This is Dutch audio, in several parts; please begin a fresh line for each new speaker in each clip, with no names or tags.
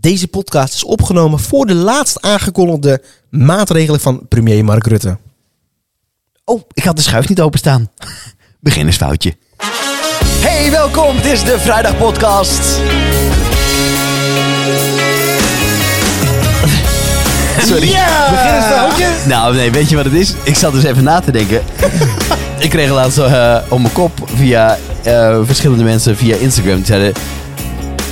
Deze podcast is opgenomen voor de laatst aangekondigde maatregelen van premier Mark Rutte.
Oh, ik had de schuif niet openstaan. Beginnersfoutje. Hey, welkom. Dit is de Vrijdagpodcast. Sorry.
Ja!
Beginnersfoutje? Nou, nee, weet je wat het is? Ik zat dus even na te denken. ik kreeg laatst eh om mijn kop via eh, verschillende mensen via Instagram. Die zeiden,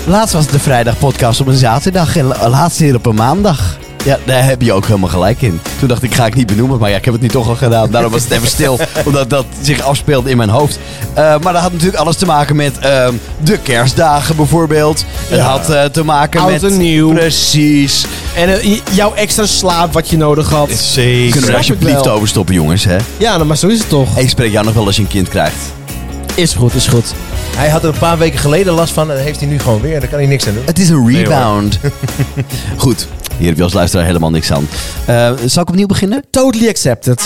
laatst was de Vrijdagpodcast op een zaterdag en la- laatst weer op een maandag. Ja, daar heb je ook helemaal gelijk in. Toen dacht ik, ga ik niet benoemen, maar ja, ik heb het nu toch al gedaan. Daarom was het even stil, omdat dat zich afspeelde in mijn hoofd. Eh, maar dat had natuurlijk alles te maken met ehm, de kerstdagen bijvoorbeeld. Het had eh, te maken
Oud
met...
en nieuw.
Precies.
En eh, j- jouw extra slaap wat je nodig had.
Zeker.
Kunnen we
Snap ik
alsjeblieft
wel.
overstoppen, jongens, hè?
Ja, nou, maar zo is het toch.
Ik spreek jou nog wel als je een kind krijgt.
Is goed, is goed.
Hij had er een paar weken geleden last van en heeft hij nu gewoon weer. Daar kan hij niks aan doen.
Het is een
Nee, hoor.
rebound. Goed, hier heb je als luisteraar helemaal niks aan. Eh, zal ik opnieuw beginnen?
Totally accepted.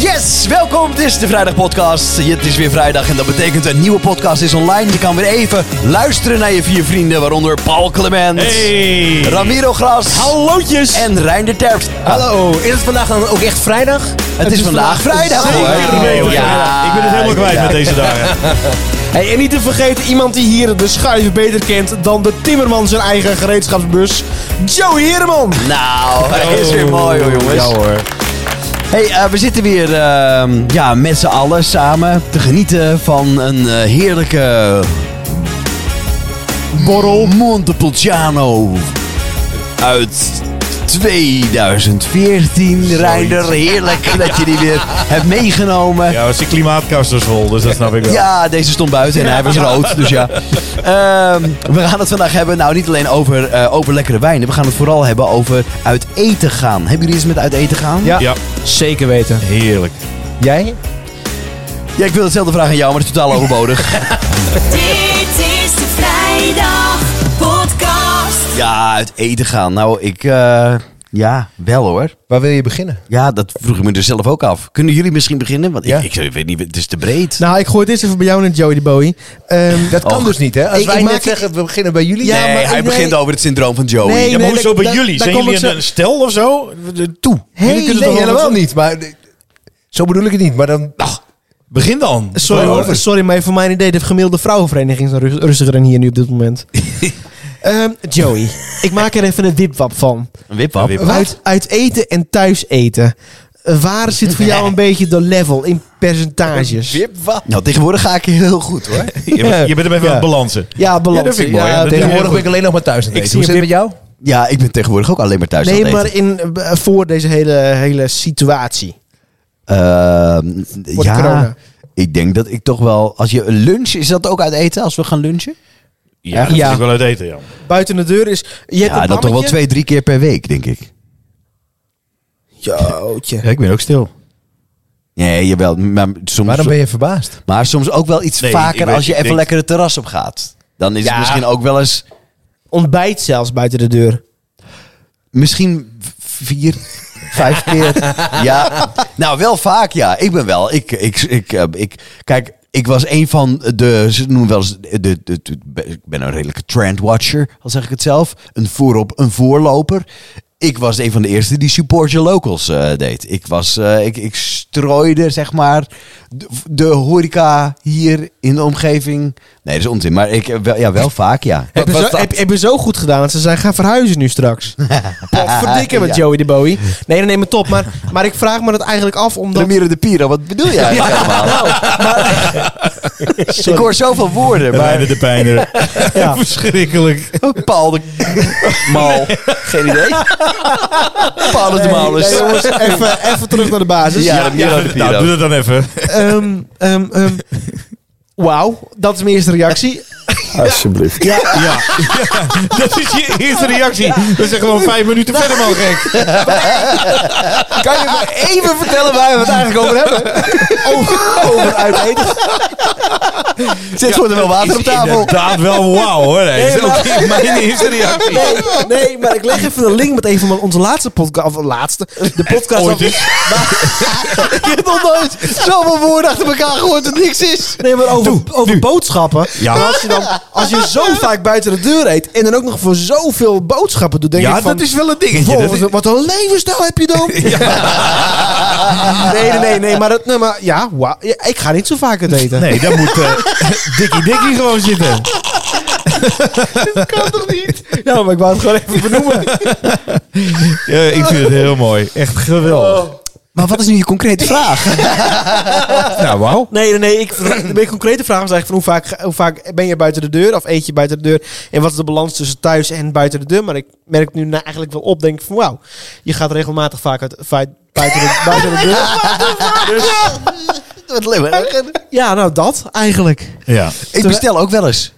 Yes, welkom. Dit is de Vrijdag Podcast. Het is weer vrijdag en dat betekent een nieuwe podcast is online. Je kan weer even luisteren naar je vier vrienden, waaronder Paul Clement,
Hey!
Ramiro Gras
Hallootjes!
en Rijn de Terpt.
Hallo, is het vandaag dan ook echt vrijdag?
Het is vandaag vrijdag.
Zeker.
hoor.
Nee, hoor.
Ja.
Ik ben het helemaal kwijt
Ja.
met deze dagen.
Hey, en niet te vergeten, iemand die hier de schuif beter kent dan de timmerman zijn eigen gereedschapsbus, Joe Heerman.
Nou, hij is weer mooi hoor, jongens.
Oh. Ja hoor.
Hey, eh, we zitten weer ehm, ja, met z'n allen samen te genieten van een eh, heerlijke borrel Montepulciano uit 2014. Reinder, heerlijk dat je die weer hebt meegenomen.
Ja, was die klimaatkast was vol, dus dat snap ik wel.
Ja, deze stond buiten en hij was rood, dus ja. Ehm, we gaan het vandaag hebben, nou niet alleen over, eh, over lekkere wijnen. We gaan het vooral hebben over uit eten gaan. Hebben jullie iets met uit eten gaan?
Ja,
zeker weten.
heerlijk.
Jij?
Ja, ik wil hetzelfde vraag aan jou, maar het is totaal overbodig.
Dit is de vrijdag podcast.
Ja, uit eten gaan. Nou, ik... eh, ja, wel hoor.
Waar wil je beginnen?
Ja, dat vroeg ik me dus zelf ook af. Kunnen jullie misschien beginnen? Want ik,
Ja.
ik, weet niet, het is te breed.
Nou, ik gooi dit even bij jou net, Joey de Bowie. Ehm,
Dat kan
Oh.
dus niet, hè? Als
Ik-
wij
ik
net
maak-
zeggen, we beginnen bij jullie.
Ja,
nee,
maar
hij
ik-
begint
nee.
over het syndroom van Joey.
Nee,
Ja, maar
nee,
hoezo
daar-
bij
daar-
jullie?
daar
Zijn
kom
jullie
ik
in
zo-
een stel of zo? De- Toe.
Hey,
Jullie kunnen
nee,
toch
helemaal
niet. Maar zo bedoel ik het niet. Maar dan... Begin dan.
Sorry, hoor. sorry, maar voor mijn idee, de gemiddelde vrouwenvereniging is dan rust- rustiger dan hier nu op dit moment. Ehm, Joey, ik maak er even een wipwap van.
Een wipwap.
Een wipwap. Wat?
Uit, uit eten en thuis eten. Eh, Waar zit voor jou een beetje de level in percentages?
Wipwap.
Nou, tegenwoordig ga ik hier heel goed hoor.
Je bent- je bent hem even aan het balansen.
Ja, balans.
Eh, Ja, dat vind ik mooi.
Ja,
hè?
dat-
Tegenwoordig ben ik alleen nog maar thuis aan
Ik
het eten.
zie
Hoe zit het
een
met jou?
Ja, ik ben tegenwoordig ook alleen maar thuis
Nee,
aan het
maar
eten.
in, eh, voor deze hele, hele situatie.
Ehm,
Voor de
ja,
corona.
ik denk dat ik toch wel... Als je een lunch, is dat ook uit eten als we gaan lunchen?
Ja, dat
Ja.
vind ik wel uit eten, ja.
Buiten de deur is... Je hebt
ja,
een
dat toch wel
bammetje.
twee, drie keer per week, denk ik.
Jootje.
ik ben ook stil.
Nee, jawel. Maar soms,
Maar dan ben je verbaasd.
Maar soms ook wel iets
Nee, ik
vaker
weet-
als je
ik
even
denk-
lekker het terras op gaat. Dan is
Ja.
het misschien ook wel eens...
Ontbijt zelfs buiten de deur.
Misschien v- vier, vijf keer. Ja, nou wel vaak ja. Ik ben wel, ik, ik, ik, eh, ik kijk, ik was een van de, ze noemen wel eens, de, de, de- ik ben een redelijke trendwatcher, al zeg ik het zelf. Een voorop, een voorloper. Ik was een van de eerste die support your locals eh, deed. Ik, was, eh, ik, ik strooide, zeg maar, de, de horeca hier in de omgeving. Nee, dat is onzin, maar ik, eh, wel, ja, wel vaak, ja.
Heb je,
was
zo,
dat?
heb, heb je zo goed gedaan dat ze zijn gaan verhuizen nu straks. Potverdikke met
Ja.
Joey de Bowie. Nee, nee, nee, maar top. Maar, maar ik vraag me dat eigenlijk af omdat...
Ramiro de Piro, wat bedoel jij allemaal? Ik hoor zoveel woorden, maar
de pijner.
Ja.
Verschrikkelijk.
Paul de Mal. Geen idee. Paul de Malus.
Nee, jongens, even, even terug naar de basis.
Ja,
Ja,
Ramiro de
nou, doe
Piro.
dat dan even.
Ehm, ehm, ehm. Wauw, dat is mijn eerste reactie.
Alsjeblieft.
Ja. dat is je eerste reactie. We zijn gewoon vijf minuten verder, man, gek.
Kan je me even vertellen waar we het eigenlijk over hebben? Over, over uit eten. Zit voor de wel water op tafel.
Inderdaad wel wauw, hoor. Nee, dat is ook niet mijn eerste reactie.
Nee, nee, maar ik leg even de link met een van onze laatste podcast. Of laatste. De podcast.
Ooit
over-
eens.
Ik heb nog nooit zoveel woorden achter elkaar gehoord dat niks is.
Nee, maar over, over boodschappen.
Ja.
Dan was je dan als je zo vaak buiten de deur eet en dan ook nog voor zoveel boodschappen doet, denk
Ja,
ik van...
dat is wel een dingetje.
wow,
Dat is-
wat, wat een levensstijl heb je dan? Nee, nee, nee, nee, maar, dat, nee, maar ja, wauw. Ja, ik ga niet zo vaak het eten.
Nee, daar moet eh Dikkie Dikkie gewoon zitten.
kan toch niet? Nou, maar ik wou het gewoon even benoemen.
Ja, eh, ik vind het heel mooi. Echt geweldig.
Maar wat is nu je concrete vraag?
Nou, wauw.
Nee, nee, nee. Ik, de meest concrete vraag was eigenlijk van hoe vaak, ga- hoe vaak ben je buiten de deur of eet je buiten de deur? En wat is de balans tussen thuis en buiten de deur? Maar ik merk nu na- eigenlijk wel op, denk ik van wauw, je gaat regelmatig vaak uit, vaak buiten, de, buiten de deur.
Wat leuk.
Ja, nou dat eigenlijk.
Ja.
Ik bestel ook wel eens.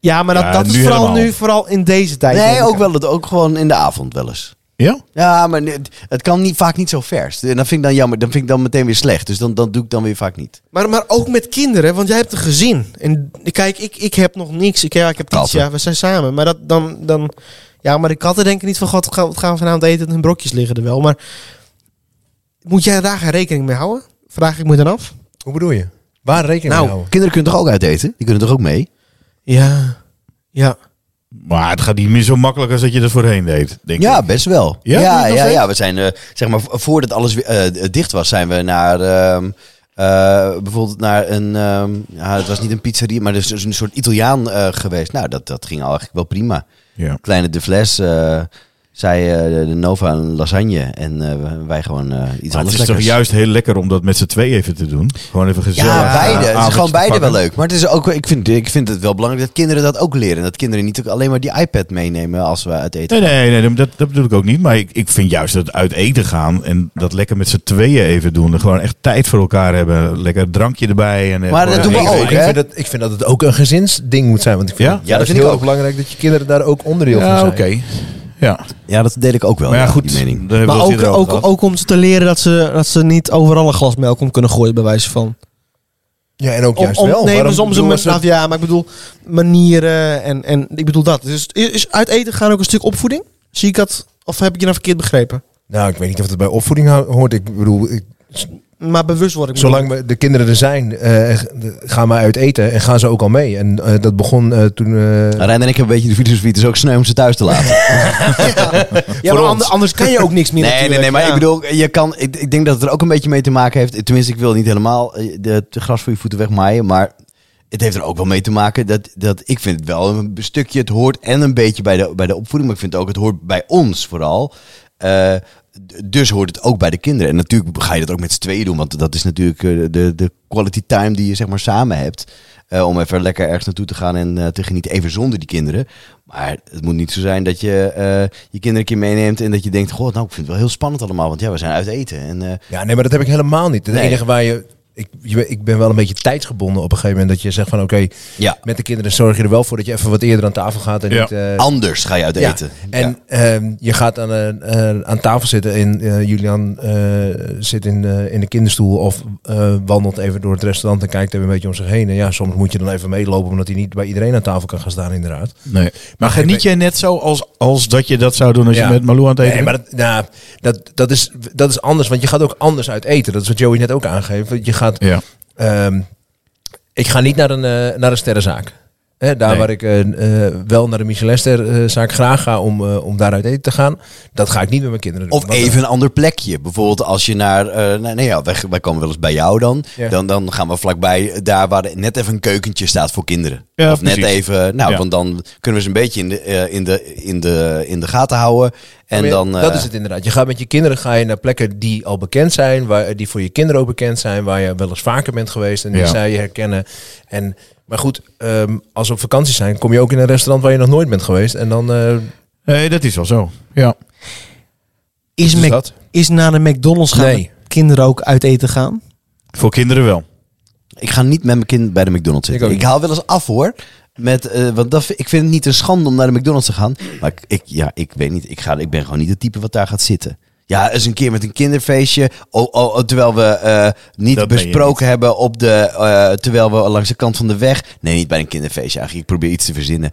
Ja, maar dat,
Ja,
dat is
nu
vooral
helemaal.
nu, vooral in deze tijd. denk
Nee,
ik.
ook wel, het- ook gewoon in de avond wel eens.
Ja?
Ja, maar het- het kan niet, vaak niet zo vers. En dat vind ik dan jammer. Dan vind ik dan meteen weer slecht. Dus dan, dan doe ik dan weer vaak niet.
Maar, maar ook met kinderen, want jij hebt een gezin. En kijk, ik, ik heb nog niks. Ik, ja, ik heb iets,
Katten.
ja, we zijn samen. Maar dat dan, dan... Ja, maar de katten denken niet van... God, wat gaan- wat gaan we vanavond eten? En hun brokjes liggen er wel. Maar moet jij daar geen rekening mee houden? Vraag ik me dan af.
Hoe bedoel je? Waar rekening
Nou.
mee houden?
kinderen kunnen toch ook uit eten? Die kunnen toch ook mee?
Ja. Ja.
Maar het gaat niet meer zo makkelijk als dat je dat voorheen deed, denk
Ja,
ik.
best wel.
Ja?
Ja,
Doe
ja,
je het nog
ja,
steeds?
We zijn, eh, zeg maar, v- voordat alles weer, eh, d- dicht was, zijn we naar, ehm, eh, bijvoorbeeld naar een, ehm, ja, het was niet een pizzeria, maar dus een soort Italiaan eh, geweest. Nou, dat, dat ging al eigenlijk wel prima.
Ja.
Kleine de Fles, eh zij eh, de Nova een lasagne en eh, wij gewoon eh, iets
Maar het
anders
is
lekkers.
toch juist heel lekker om dat met z'n twee even te doen? Gewoon even gezellig.
ja, beide.
eh,
Het is
avonds
gewoon
te
beide wel
pakken.
leuk. Maar het is ook, ik, vind, ik vind het wel belangrijk dat kinderen dat ook leren. En dat kinderen niet ook alleen maar die iPad meenemen als we uit eten.
Nee, nee, nee, dat, dat bedoel ik ook niet. Maar ik, ik vind juist dat uit eten gaan en dat lekker met z'n tweeën even doen. En gewoon echt tijd voor elkaar hebben. Lekker drankje erbij. En, eh,
Maar dat
gewoon
doen we
even-
ook,
ik,
hè?
vind dat, ik vind dat het ook een gezinsding moet zijn. Want ik vind
Ja?
het
Ja, dat
juist
vind ik
heel
ook.
belangrijk dat je kinderen daar ook onderdeel van
Ja,
zijn.
oké. Ja.
Ja, dat deed ik ook wel.
Maar ja,
ja,
goed.
die mening.
daar hebben we
Maar
het
ook,
eerder over
ook,
gehad.
ook om ze te leren dat ze, dat ze niet overal een glas melk om kunnen gooien, bij wijze van.
Ja, en ook
Om,
juist
om,
wel.
nee, maar
Waarom
soms een
doen we
mes-
ze-
nou, Ja, maar ik bedoel manieren en, en ik bedoel dat. Dus is, is uit eten gaan ook een stuk opvoeding? Zie ik dat? Of heb ik je nou verkeerd begrepen?
Nou, ik weet niet of het bij opvoeding ho- hoort. Ik bedoel, ik,
Maar bewustwording. bedoel ik.
zolang we- de kinderen er zijn, eh, gaan we uit eten en gaan ze ook al mee. En eh, dat begon eh, toen... eh,
Nou, Rijn en ik hebben een beetje de filosofie, het is ook sneu om ze thuis te laten.
Ja, maar ander- anders kan je ook niks meer
nee, nee,
natuurlijk,
nee, maar
ja.
ik bedoel, je kan, ik, ik denk dat het er ook een beetje mee te maken heeft. Tenminste, ik wil niet helemaal eh, de, het gras voor je voeten wegmaaien, maar het heeft er ook wel mee te maken dat, dat ik vind het wel een stukje, het hoort en een beetje bij de, bij de opvoeding, maar ik vind ook, het hoort bij ons vooral. Eh, d- dus hoort het ook bij de kinderen. En natuurlijk ga je dat ook met z'n tweeën doen, want dat is natuurlijk eh, de, de quality time die je zeg maar samen hebt. Eh, om even lekker ergens naartoe te gaan en eh, te genieten. Even zonder die kinderen. Maar het moet niet zo zijn dat je eh, je kinderen een keer meeneemt. En dat je denkt, goh, nou ik vind het wel heel spannend allemaal. Want ja, we zijn uit eten. En, eh,
Ja, nee, maar dat heb ik helemaal niet. Het
Nee.
enige waar je ik, je... ik ben wel een beetje tijdsgebonden op een gegeven moment. Dat je zegt van, oké,
ja,
met de kinderen zorg je er wel voor dat je even wat eerder aan tafel gaat. En
Ja.
niet, eh,
anders ga je uit
Ja.
eten.
En ehm, je gaat aan, een, eh, aan tafel zitten en eh, Julian eh, zit in, eh, in de kinderstoel of eh, wandelt even door het restaurant en kijkt even een beetje om zich heen. En ja, soms moet je dan even meelopen omdat hij niet bij iedereen aan tafel kan gaan staan inderdaad.
Nee. Maar geniet jij net zo als, als dat je dat zou doen als
Ja.
je met Malou aan het eten
Nee, maar dat, nou, dat, dat, is, dat is anders, want je gaat ook anders uit eten. Dat is wat Joey net ook aangeeft. want Je gaat,
bent? Ja.
ehm, ik ga niet naar een, eh, naar een sterrenzaak. Hè, daar
Nee.
waar ik eh, eh, wel naar de Michelinsterzaak graag ga om, eh, om daar uit eten te gaan, dat ga ik niet met mijn kinderen doen.
Of
Want, eh,
even een ander plekje. Bijvoorbeeld als je naar... eh nou, nee, ja, wij, wij komen wel eens bij jou dan.
Ja.
dan. Dan gaan we vlakbij daar waar de- net even een keukentje staat voor kinderen.
Ja,
of net
precies.
even... Nou,
Ja.
want dan kunnen we ze een beetje in de, eh, in de, in de, in de gaten houden. En
Maar Oh ja,
dan... eh,
dat is het inderdaad. Je gaat met je kinderen ga je naar plekken die al bekend zijn, waar, eh, die voor je kinderen ook bekend zijn, waar je wel eens vaker bent geweest en die
Ja.
zij je herkennen. En, maar goed, ehm, als we op vakantie zijn, kom je ook in een restaurant waar je nog nooit bent geweest. En dan eh,
Nee, dat is wel zo. Ja.
Is,
dus
Mac-
dat.
is naar de McDonald's gaan
Nee.
met kinderen ook uit eten gaan?
Voor kinderen wel.
Ik ga niet met mijn kind bij de McDonald's
Ik
zitten.
ook
Ik,
niet.
haal wel eens af hoor. Met, eh, want dat, vind- ik vind het niet een schande om naar de McDonald's te gaan. Maar ik, ik- ja, ik weet niet. Ik, ga, ik ben gewoon niet het type wat daar gaat zitten. Ja, eens een keer met een kinderfeestje. Oh, oh, oh, terwijl we eh, niet
Dat ben je
besproken hebben op de. eh, terwijl we langs de kant van de weg. Nee, niet bij een kinderfeestje eigenlijk. Ik probeer iets te verzinnen.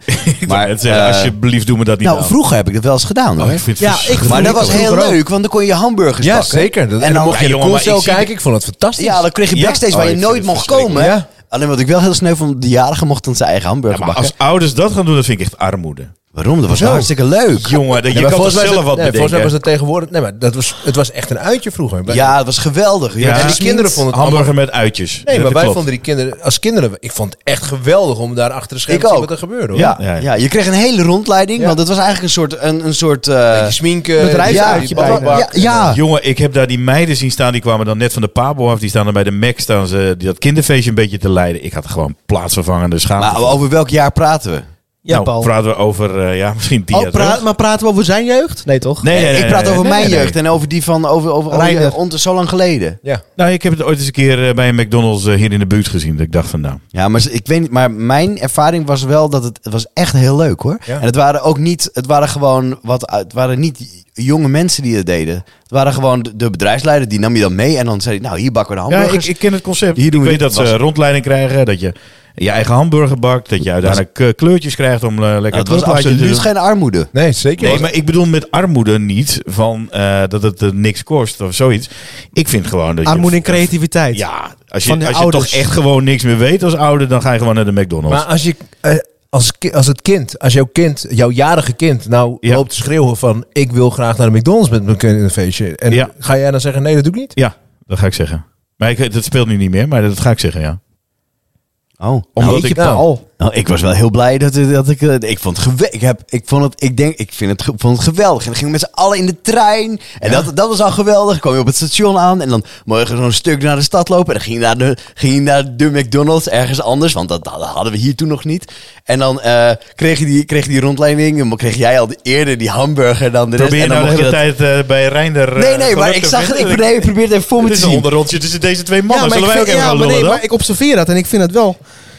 Maar het,
eh,
alsjeblieft doe me dat niet
nou,
aan.
vroeger heb ik dat wel eens gedaan hoor.
Oh, ik vind het
Ja, ik-
verschrikkelijk.
maar dat was
vroeger
heel
ook.
leuk, want dan kon je hamburgers
ja,
pakken.
zeker. Dat, en dan, mocht je
Ja,
de
jongen, maar
console
ik zie-
kijken. Ik vond het fantastisch.
Ja, dan kreeg je
Ja.
backstage
Oh,
waar
ik
je
vind
nooit
het
mocht
verschrikkelijk.
komen.
Ja.
Alleen wat ik wel heel sneu vond, de jarige mocht dan zijn eigen hamburger
Ja, maar
bakken.
als ouders dat gaan doen, dat vind ik echt armoede.
Waarom? Dat was
Zo.
hartstikke leuk.
Jongen, dat, je
Nee, maar
kan toch
volgens mij is
zelf
het-
wat
nee, Volgens mij
bedenken.
was dat tegenwoordig... Nee, maar dat was, het was echt een uitje vroeger. Bij-
Ja, het was geweldig. Je
Ja.
werd
En die
gesminkt.
kinderen vonden het
Hamburger met uitjes.
Nee,
Dat
maar wij
klopt.
vonden die kinderen... Als kinderen... Ik vond het echt geweldig om daar achter de schermen
Ik
te zien
ook.
wat er gebeurde. Hoor.
Ja,
Ja,
ja.
ja.
je kreeg een hele rondleiding,
Ja.
want het was eigenlijk een soort... Een, een soort eh,
Beetje sminken.
bedrijfsuitje
die
bijna.
ballenbak.
ja, ja.
Jongen, ik heb daar die meiden zien staan. Die kwamen dan net van de Pabo af. Die staan dan bij de Mac. Staan ze die dat kinderfeestje een beetje te leiden. Ik had gewoon plaatsvervangende schaamte.
Maar over welk jaar praten we?
Ja,
nou,
Paul.
praten we over, eh, ja, misschien tien
Oh,
jaar
praat,
terug.
maar praten we over zijn jeugd? Nee, toch?
Nee, nee, nee,
ik praat
nee,
over
nee,
mijn
nee, nee.
jeugd en over die van over, over oh,
Reiner.
ja, on- zo lang geleden.
Ja.
Nou, ik heb het ooit eens een keer eh, bij een McDonald's eh, hier in de buurt gezien. Dat ik dacht van, nou,
Ja, maar ze- ik weet niet, maar mijn ervaring was wel dat het, het was echt heel leuk hoor.
Ja.
En het waren ook niet, het waren gewoon wat, eh, het waren niet jonge mensen die het deden. Het waren gewoon de, de bedrijfsleider die nam je dan mee en dan zei hij, nou hier bakken we de
Ja, ik,
hamburgers.
ik ken het concept.
Hier doen we
ik weet
dit.
dat ze
Was-
rondleiding krijgen, dat je je eigen hamburger bakt, dat je uiteindelijk eh, kleurtjes krijgt om eh, lekker
Nou,
het
het was
rondleidje te
absoluut
doen.
geen armoede.
Nee, zeker
Nee, maar ik bedoel met armoede niet van eh, dat het eh, niks kost of zoiets. Ik vind gewoon dat je-
Armoede en creativiteit.
Ja, als
Van
je,
de
als je toch
ouders.
echt gewoon niks meer weet als ouder, dan ga je gewoon naar de McDonald's.
Maar als je... eh, Als, ki- als het kind, als jouw kind, jouw jarige kind, nou
Ja.
loopt te schreeuwen van ik wil graag naar de McDonald's met mijn kind in een feestje. En
Ja.
ga jij dan zeggen nee, dat doe ik niet?
ja, dat ga ik zeggen. Maar ik, dat speelt nu niet meer, maar dat ga ik zeggen, ja.
Oh,
Omdat
nou,
ik-
ik, Paul. nou, ik was wel heel blij dat, dat ik, eh, ik vond het gewe- ik heb, ik vond het, ik denk, ik vind het, ge- vond het geweldig. En dan gingen we met z'n allen in de trein en dat, dat was al geweldig. Dan kwam je op het station aan en dan morgen zo'n stuk naar de stad lopen en dan ging je naar de, ging je naar de McDonald's ergens anders, want dat, dat hadden we hier toen nog niet. En dan eh, kreeg je die, kreeg je die rondleiding en dan kreeg jij al die- eerder die hamburger dan de rest.
Probeer je
en dan
nou de
mocht
hele
je dat-
tijd eh, bij Reinder... eh,
Nee, nee, maar
geluk
ik
te
zag het,
vinden.
ik, nee, ik probeer het even voor me
Dit
te
is een
zien.
onderrondje tussen deze twee mannen.
maar,
Zullen
ik,
wij ook
vind-
even
ja,
gaan
maar,
lullen
nee,
dan?
maar ik observeer dat en ik vind het wel...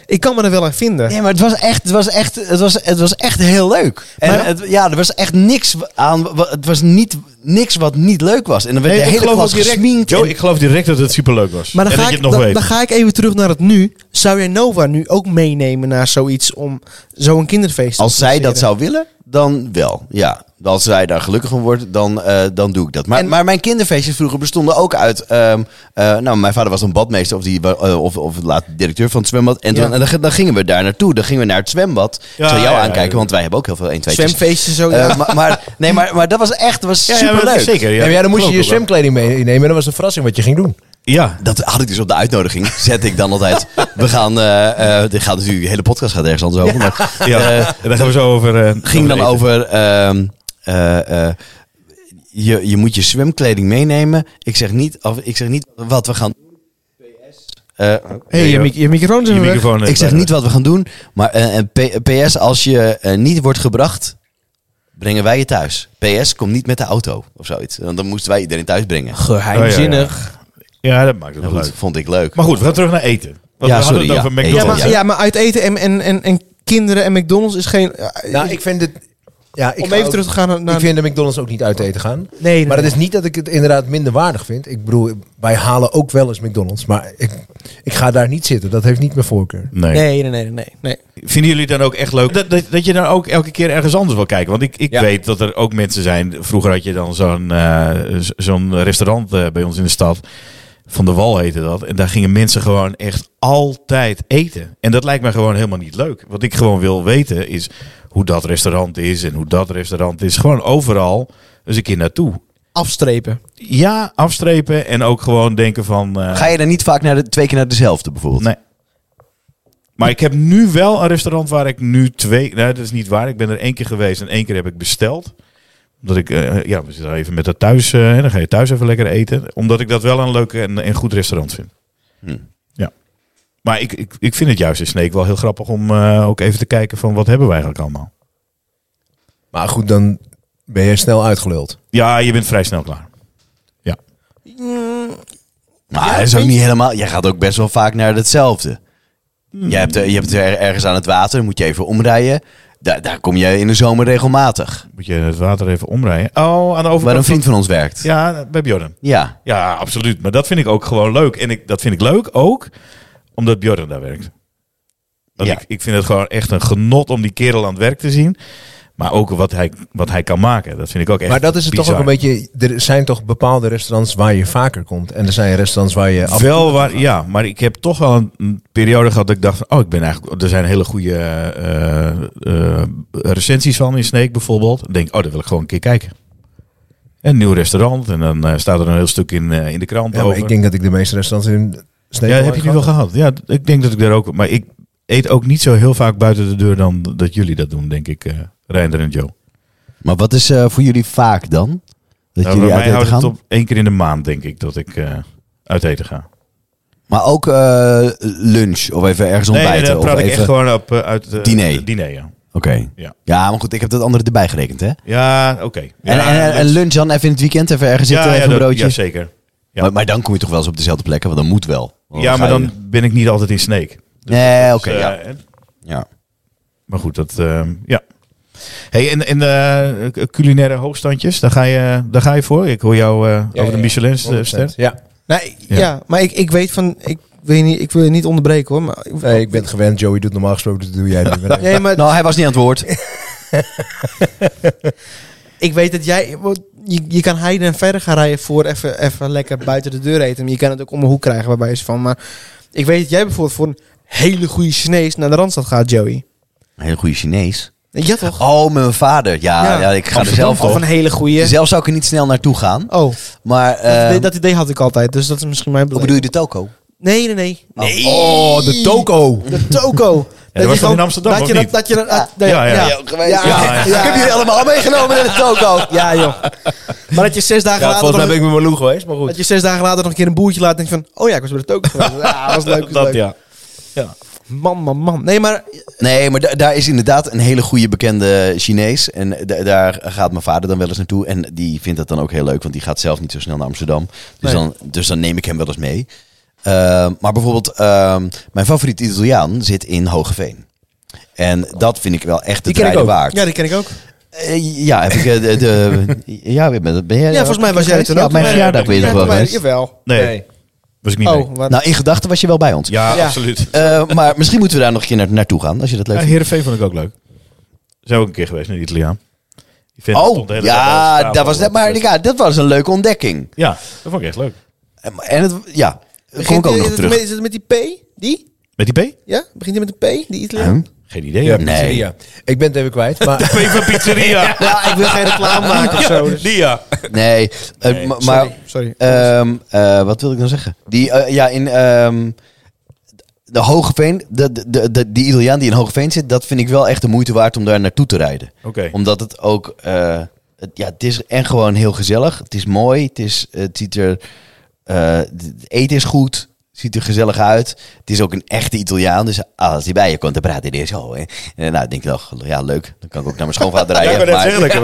Ik kan me er wel aan vinden.
Nee, maar het was echt, het was echt, het was, het was echt heel leuk. En
Maar-
het, ja, er was echt niks aan. wa- Het was niet, niks wat niet leuk was. En dan werd
Nee,
de
ik
hele
geloof
klas
ook direct-
gesminkt.
Jo,
en-
ik geloof direct dat het superleuk was.
Maar dan
en
ga,
dat je
ik,
het nog
dan,
weet.
dan ga ik even terug naar het nu. Zou jij Nova nu ook meenemen naar zoiets om zo'n kinderfeest te
Als zij dat
organiseren?
zou willen, dan wel. Ja, als zij daar gelukkig van wordt, dan, eh, dan doe ik dat. Maar,
En-
maar mijn kinderfeestjes vroeger bestonden ook uit... ehm, eh, nou, mijn vader was een badmeester of, die, wa- eh, of, of later directeur van het zwembad. En,
Ja.
dan, en dan, dan gingen we daar naartoe. Dan gingen we naar het zwembad. ik zal jou
ja, ja,
aankijken,
ja.
want wij hebben ook heel veel 1, 2,
Zwemfeesten zo. ja.
Eh, maar, maar, nee, maar, maar dat was echt dat was
Ja, ja, maar
superleuk.
Zeker, ja.
Ja, maar ja, dan moest je je
Geloof ik wel.
zwemkleding meenemen en dat was de verrassing wat je ging doen.
Ja.
Dat had ik dus op de uitnodiging. Zet ik dan altijd. We gaan. eh, eh, dit gaat natuurlijk. De hele podcast gaat ergens anders over. Maar het
ja. en daar gaan we zo over... eh,
ging dan
eten.
over. ehm, eh, eh, je, je moet je zwemkleding meenemen. Ik zeg niet, of, ik zeg niet wat we gaan doen.
Oh,
PS. eh,
hey, je, mic- je microfoon is
Je
weer weg.
microfoon, eh,
ik zeg
bij-
niet wat we gaan doen. Maar eh, en P- PS, als je eh, niet wordt gebracht. Brengen wij je thuis. PS, kom niet met de auto of zoiets. Want dan moesten wij iedereen thuis brengen.
Geheimzinnig.
Oh, Ja, dat maakt het wel
Goed,
leuk.
vond ik leuk.
Maar goed, we gaan terug naar eten. Want
Ja, sorry,
we hadden het
ja.
over
Ja,
McDonald's.
maar, ja, maar uit eten en, en, en, en kinderen en McDonald's is geen... eh,
Nou, ik vind dit... Ja, ik
om
ga
even
ook-
terug te gaan naar...
Ik vind de McDonald's ook niet uit eten gaan.
nee, nee,
Maar
nee.
het is niet dat ik het inderdaad minder waardig vind. Ik bedoel, wij halen ook wel eens McDonald's. Maar ik, ik ga daar niet zitten. Dat heeft niet mijn voorkeur.
Nee.
Nee, nee, nee, nee. nee.
Vinden jullie het dan ook echt leuk dat, dat, dat je dan ook elke keer ergens anders wil kijken? Want ik, ik
Ja.
weet dat er ook mensen zijn. Vroeger had je dan zo'n eh, z- zo'n restaurant eh, bij ons in de stad. Van de Wal heette dat. En daar gingen mensen gewoon echt altijd eten. En dat lijkt mij gewoon helemaal niet leuk. Wat ik gewoon wil weten is hoe dat restaurant is en hoe dat restaurant is. Gewoon overal eens een keer naartoe.
Afstrepen.
Ja, afstrepen en ook gewoon denken van... eh,
Ga je dan niet vaak naar de, twee keer naar dezelfde bijvoorbeeld?
Nee. Maar ik heb nu wel een restaurant waar ik nu twee... Nou, dat is niet waar. Ik ben er één keer geweest en één keer heb ik besteld. Omdat ik... eh, ja, we zitten even met dat thuis... eh, en dan ga je thuis even lekker eten. Omdat ik dat wel een leuk en, en goed restaurant vind.
Hm.
Ja. Maar ik, ik, ik vind het juist in Sneek wel heel grappig om eh, ook even te kijken van... Wat hebben we eigenlijk allemaal?
Maar goed, dan ben je snel uitgeluld.
Ja, je bent vrij snel klaar.
Maar dat is ook niet helemaal. Jij gaat ook best wel vaak naar hetzelfde.
Hmm.
Je hebt, eh, je hebt er, ergens aan het water, moet je even omrijden. Daar, daar kom je in de zomer regelmatig.
Moet je het water even omrijden. Oh, aan de overkant.
Waar een
van-
vriend van ons werkt. Ja.
Ja, bij Bjorn. Ja, absoluut. Maar dat vind ik ook gewoon leuk. En ik, dat vind ik leuk ook omdat Bjorn daar werkt. Want
Ja.
ik, ik vind het gewoon echt een genot om die kerel aan het werk te zien. Maar ook wat hij, wat hij kan maken. Dat vind ik ook echt
Maar dat is het toch ook
bizar.
een beetje. Er zijn toch bepaalde restaurants waar je vaker komt. En er zijn restaurants waar je. af-
Wel waar, ja, maar ik heb toch wel een, een periode gehad dat ik dacht: van, oh, ik ben eigenlijk. Er zijn hele goede eh, eh, recensies van in Sneek bijvoorbeeld. Ik denk, oh, daar wil ik gewoon een keer kijken. En Een nieuw restaurant en dan eh, staat er een heel stuk in, eh, in de krant.
Ja, maar
over.
ik denk dat ik de meeste restaurants in. Sneek
ja, heb je die wel gehad? Ja, d- ik denk dat ik daar ook. Maar ik eet ook niet zo heel vaak buiten de deur dan d- dat jullie dat doen, denk ik, eh Reinder en Joe.
Maar wat is eh, voor jullie vaak dan? Dat
Nou, bij
jullie
mij
uit eten
houdt
gaan?
het op één keer in de maand, denk ik, dat ik eh, uit eten ga.
Maar ook eh, lunch of even ergens
Nee,
ontbijten.
nee, daar
of
praat ik
even...
echt gewoon op eh, uit eh,
Diner.
diner ja.
Oké.
Ja.
Ja. maar goed, ik heb dat andere erbij gerekend, hè?
Ja, oké.
en,
Ja,
en, en
dat-
lunch dan even in het weekend, even ergens
ja,
zitten,
ja,
even een
dat-
broodje.
Ja, zeker. ja.
Maar, maar dan kom je toch wel eens op dezelfde plekken, want dat moet wel. Want
ja,
Oh, ga
maar
je-
dan ben ik niet altijd in Snake.
Nee, oké,
Dus, eh,
ja.
eh,
ja.
Maar goed, dat... eh, ja. Hey, en, en eh, culinaire hoogstandjes, daar ga, je, daar ga je voor? Ik hoor jou eh, over de
ja. eh,
Michelin-ster.
Ja,
Nee,
Ja.
ja. maar ik, ik weet van... Ik, wil je niet, ik wil je niet onderbreken hoor. Maar,
nee, ik ben het gewend. Joey doet normaal gesproken, dat doe jij nu. Maar
Nee, maar
Nou, hij was niet aan het woord.
ik weet dat jij... want Je, je kan heiden en verder gaan rijden voor even, even lekker buiten de deur eten. Maar je kan het ook om een hoek krijgen waarbij is van. Maar ik weet dat jij bijvoorbeeld voor een hele goede Chinees naar de Randstad gaat, Joey.
Een hele goede Chinees.
Ja toch?
Oh, met mijn vader. Ja, ja.
Ja.
ik ga er
Amsterdam
zelf
toch? Of
op.
een hele goede...
Zelf zou ik er niet snel naartoe gaan.
Oh,
Maar,
dat, idee,
eh
dat idee had ik altijd. Dus dat is misschien mijn
hoe
probleem.
bedoel je de toko?
Nee, nee, nee.
Nee.
Oh, de toko.
De toko.
was
je
toch
gewoon-
in Amsterdam,
dat
of
je dat,
niet?
dat je dat, dat-
Ja,
nee,
ja, ja.
Ja,
ja.
Ik heb jullie allemaal meegenomen naar de toko.
Ja, joh. Maar dat je zes dagen
Ja,
later...
volgens mij
nog-
ben ik met Marloen geweest, maar goed.
Dat je zes dagen later nog een keer een boertje laat en denkt van... Oh ja, ik was bij de toko geweest. Ja, was leuk. Was
Dat
leuk.
ja.
Man, man, man. Nee, maar...
Nee, maar da- daar is inderdaad een hele goede bekende Chinees. En da- daar gaat mijn vader dan wel eens naartoe. En die vindt dat dan ook heel leuk, want die gaat zelf niet zo snel naar Amsterdam. Dus,
Nee.
dan, dus dan neem ik hem wel eens mee. Ehm, maar bijvoorbeeld, ehm, mijn favoriet Italiaan zit in Hogeveen. En dat vind ik wel echt de
Die ken ik
rijden
ook.
waard.
Ja, die ken ik ook.
Eh, ja, heb ik eh, de, de- ja, ben, ben jij
Ja, volgens mij was jij er toen
Ja,
ook.
op mijn
bij.
verjaardag ben je
Ja,
er gewoon
toen wij-
geweest.
Jawel.
Nee, was ik niet mee.
Oh, wat...
Nou, in gedachten was je wel bij ons.
Ja,
Ja.
absoluut.
Eh, maar misschien moeten we daar nog een keer naar, naartoe gaan, als je dat leuk
Ja,
vindt.
Heerenveen vond ik ook leuk. Zijn we ook een keer geweest naar de Italiaan. Die vent stond
Oh,
de hele dag aan de
ja,
tafel.
dat was, dat, maar, ja, dat was een leuke ontdekking.
Ja, dat vond ik echt leuk.
En en het, ja, daar kom ik
Begint-
ook nog
is
op
het
terug.
met- Is het met die P? Die?
Met die P?
Ja? Begint hij met een P? Die Italiaan?
Huh?
Geen idee.
Ja,
Ja,
Nee.
pizzeria. Ik ben het even kwijt, maar...
P van pizzeria.
Ja, ik wil geen reclame maken of zo. dus-
Die ja.
Nee, eh, ma- maar
Sorry.
ehm, eh, wat wil ik dan zeggen? Die, eh, ja, in ehm, de Hogeveen, de, de, de, de- die Italiaan die in Hogeveen zit, dat vind ik wel echt de moeite waard om daar naartoe te rijden.
Oké.
Omdat het ook, eh, het, ja, het is en gewoon heel gezellig. Het is mooi, het, is, het ziet er, eh, het eten is goed, het ziet er gezellig uit. Het is ook een echte Italiaan, dus als die bij je komt, dan praat hij er zo. Hè. En nou, ik denk wel, ja leuk, dan kan ik ook naar mijn schoonvader
Ja, ik
rijden.
wou net
maar-
zeggen, ik heb,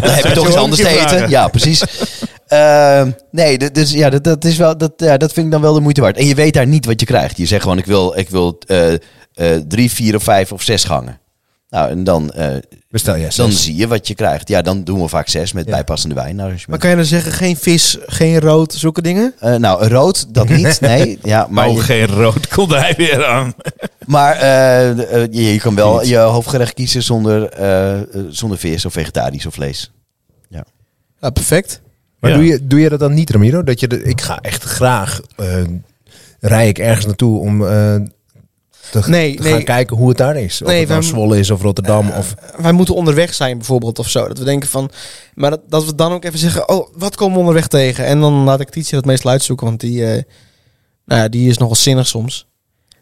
dan heb je toch iets anders te eten. Ja, precies. Ehm, nee, d- dus ja, dat, dat, is wel, dat, ja, dat vind ik dan wel de moeite waard. En je weet daar niet wat je krijgt. Je zegt gewoon, ik wil, ik wil eh, eh, drie, vier of vijf of zes gangen. Nou, en dan, eh,
Bestel jij
dan
zelfs.
zie je wat je krijgt. Ja, dan doen we vaak zes met
Ja.
bijpassende wijn. Nou, als je
Maar kan je dan zeggen, geen vis, geen rood, zulke dingen?
bent- Eh, nou, rood, dat niet. Nee, ja, maar,
Maar
je,
geen rood komt hij weer aan.
maar eh, eh, je, je kan wel je hoofdgerecht kiezen zonder, eh, eh, zonder vis of vegetarisch of vlees.
Ja, perfect.
Maar
Ja.
doe, je, doe je dat dan niet, Ramiro? Dat je de, ik ga echt graag, eh, rij ik ergens naartoe om eh, te,
Nee,
te
nee.
gaan kijken hoe het daar is. Of
Nee,
het nou
we-
Zwolle is of Rotterdam.
Eh,
of,
Eh, Wij moeten onderweg zijn bijvoorbeeld of zo. Dat we denken van... Maar dat, dat we dan ook even zeggen... Oh, wat komen we onderweg tegen? En dan laat ik Tietje dat meestal uitzoeken. Want die, eh, nou ja, die is nogal zinnig soms.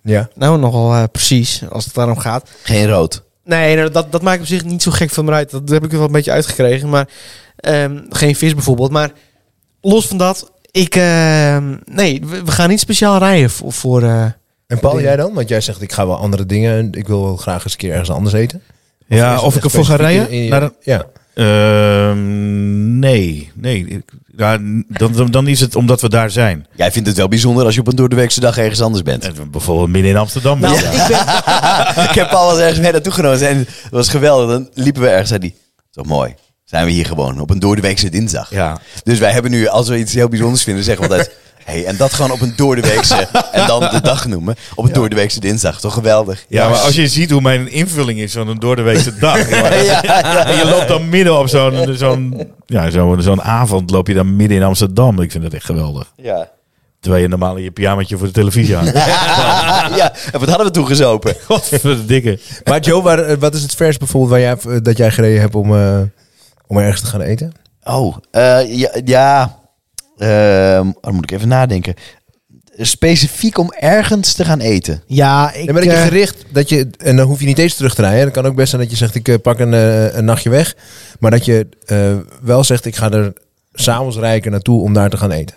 ja.
Nou, nogal eh, precies. Als het daarom gaat.
Geen rood.
Nee, nou, dat, dat maakt op zich niet zo gek van me uit. Dat heb ik er wel een beetje uitgekregen. Maar ehm, geen vis bijvoorbeeld. Maar los van dat... Ik... ehm, nee, we, we gaan niet speciaal rijden voor... voor eh,
En Paul,
Dingen.
jij dan? Want jij zegt, ik ga wel andere dingen. en Ik wil wel graag eens een keer ergens anders eten.
Ja,
is
Ah, of ik
het
ervoor ga
specifiek
rijden?
in- in je-
Naar de-
ja.
Ehm, nee, nee. Ik- Ja, dan, dan, dan is het omdat we daar zijn.
Jij vindt het wel bijzonder als je op een doordeweekse dag ergens anders bent.
En Bijvoorbeeld midden in Amsterdam.
nou,
Ja.
ik ben,
ik heb al eens ergens mee naartoe genomen en het was geweldig. Dan liepen we ergens en die, toch mooi. Zijn we hier gewoon op een doordeweekse dinsdag.
Ja.
Dus wij hebben nu, als we iets heel bijzonders vinden, zeggen we altijd... Hey, en dat gewoon op een doordeweekse, en dan de dag noemen, op een doordeweekse dinsdag. Toch geweldig.
Ja, maar als je ziet hoe mijn invulling is van een doordeweekse dag. jongen.
Ja, ja.
En je loopt dan midden op zo'n zo'n ja, zo, zo'n avond loop je dan midden in Amsterdam. Ik vind dat echt geweldig.
Ja.
Terwijl je normaal in je pyjamaatje voor de televisie hangt.
ja, en wat hadden we toen gezopen?
Godverdikke.
Maar Joe, waar, eh, wat is het vers bijvoorbeeld waar jij, dat jij gereden hebt om, eh, om ergens te gaan eten?
Oh, eh, ja, ja Ehm, dan moet ik even nadenken. Specifiek om ergens te gaan eten.
Ja, ik...
Nee, maar dat je
eh,
gericht, dat je, en dan hoef je niet eens terug te rijden. hè. Het kan ook best zijn dat je zegt, ik eh, pak een, eh, een nachtje weg. Maar dat je eh, wel zegt, ik ga er s'avonds rijken naartoe om daar te gaan eten.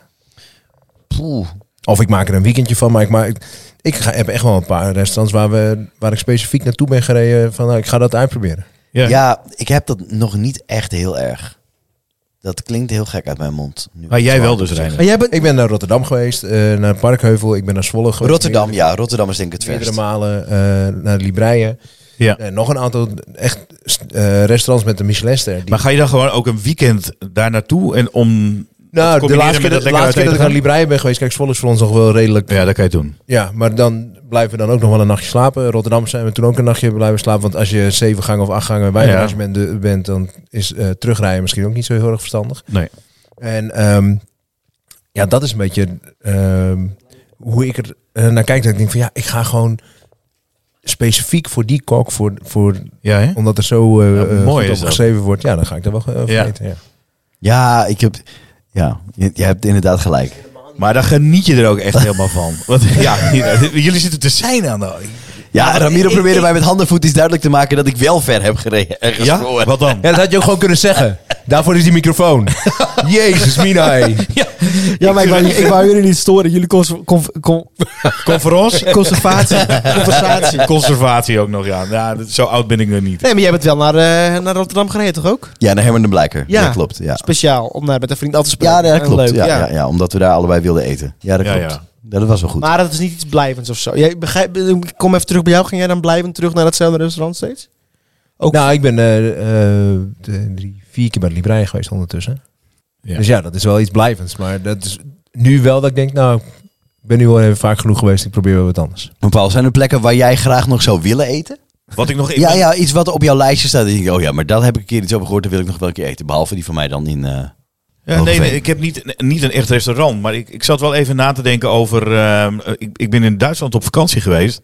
Poeh.
Of ik maak er een weekendje van, maar ik, maak, ik ga, heb echt wel een paar restaurants waar, we, waar ik specifiek naartoe ben gereden. Van, nou, ik ga dat uitproberen.
Ja.
Ja. ik heb dat nog niet echt heel erg. Dat klinkt heel gek uit mijn mond. Nu
Maar
ik
jij
het
wel
zo
dus, Reiner.
maar jij bent...
Ik ben naar Rotterdam geweest, eh, naar Parkheuvel. Ik ben naar Zwolle geweest.
Rotterdam, ja, Rotterdam is denk ik het
Meerdere
verst.
malen eh, naar de Libreien.
Ja.
Eh, nog een aantal echt eh, restaurants met een Michelinster. Die,
Maar ga je dan gewoon ook een weekend daar naartoe en om... te
nou, de
combineren met
laatste keer, dat, de
lekker
laatste keer dat ik naar
uit
de Libreien ben geweest, kijk, Zwolle is voor ons nog wel redelijk.
eten gaan? Ja, dat kan je doen.
Ja, maar dan blijven we dan ook nog wel een nachtje slapen. Rotterdam zijn we toen ook een nachtje blijven slapen. Want als je zeven gangen of acht gangen wijngarage
Ja.
bent, bent, dan is eh, terugrijden misschien ook niet zo heel erg verstandig.
Nee.
En ehm, ja, dat is een beetje ehm, hoe ik er eh, naar kijk. Dat ik denk van ja, ik ga gewoon specifiek voor die kok, voor, voor,
Ja, hè?
omdat er zo eh,
Ja,
eh,
mooi
goed
is
op
dat.
geschreven wordt. Ja, dan ga ik daar wel eh, van
Ja.
eten, ja.
Ja, ik heb... Ja, je, je hebt inderdaad gelijk.
Maar dan geniet je er ook echt helemaal van. Want ja, jullie zitten te zijn aan de...
Ja, Ramiro
ik-
probeerde
ik-
mij met handen en voetjes duidelijk te maken dat ik wel ver heb eh, gereden. Ergens voor.
Ja? Wat dan?
Ja, dat had je ook gewoon kunnen zeggen. Daarvoor is die microfoon. Jezus, Mina. hé.
Ja, maar ik wou, ik wou jullie niet storen. Jullie cons- conf- con-
Conference?
conservatie. conversatie.
Conservatie ook nog, ja. ja dat- zo oud ben ik nog niet.
Nee, maar jij bent wel naar, eh, naar Rotterdam gereden, toch ook?
Ja, naar Herman de Blijker.
Ja.
Ja, klopt. Ja,
Speciaal, om daar met een vriend af te spreken.
ja dat
Eh,
klopt.
leuk,
ja, ja. Ja, omdat we daar allebei wilden eten. Ja, dat
Ja,
klopt.
ja.
Dat was wel goed.
Maar dat is niet iets blijvends of zo. Jij, begrijp, ik kom even terug bij jou. Ging jij dan blijvend terug naar datzelfde restaurant steeds? Ook-
Nou, ik ben eh, eh, drie, vier keer bij de Libraï geweest ondertussen.
Ja.
Dus ja, dat is wel iets blijvends. Maar dat is nu wel dat ik denk, nou, ik ben nu wel even vaak genoeg geweest. Ik probeer wel wat anders.
Maar Paul, zijn er plekken waar jij graag nog zou willen eten?
Wat ik nog in
ja, ja, iets wat op jouw lijstje staat. Dat je denkt, oh ja, maar daar heb ik een keer iets over gehoord. Daar wil ik nog wel een keer eten. Behalve die van mij dan in... eh,
Ja, nee,
Hogeveen.
nee, ik heb niet, niet een echt restaurant. Maar ik, ik zat wel even na te denken over. ehm, ik, ik ben in Duitsland op vakantie geweest.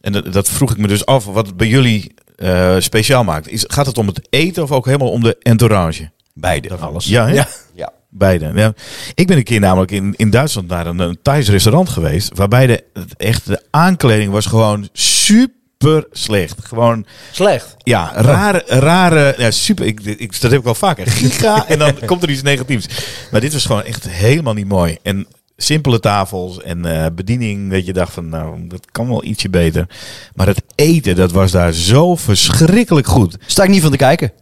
En dat, dat vroeg ik me dus af. Wat het bij jullie eh, speciaal maakt. Is, gaat het om het eten of ook helemaal om de entourage?
beide.
Alles. Ja, hè?
Ja.
Ja.
Beide. Ja. Ik ben een keer namelijk in, in Duitsland naar een, een Thais restaurant geweest. Waarbij de, het echt, de aankleding was gewoon super slecht. Gewoon
Slecht.
ja, rare, rare, ja, super. Ik, ik, dat heb ik wel vaker. Giga en dan komt er iets negatiefs. Maar dit was gewoon echt helemaal niet mooi. En simpele tafels en eh, bediening, dat je dacht van, nou, dat kan wel ietsje beter. Maar het eten, dat was daar zo verschrikkelijk goed.
Sta ik niet van te kijken.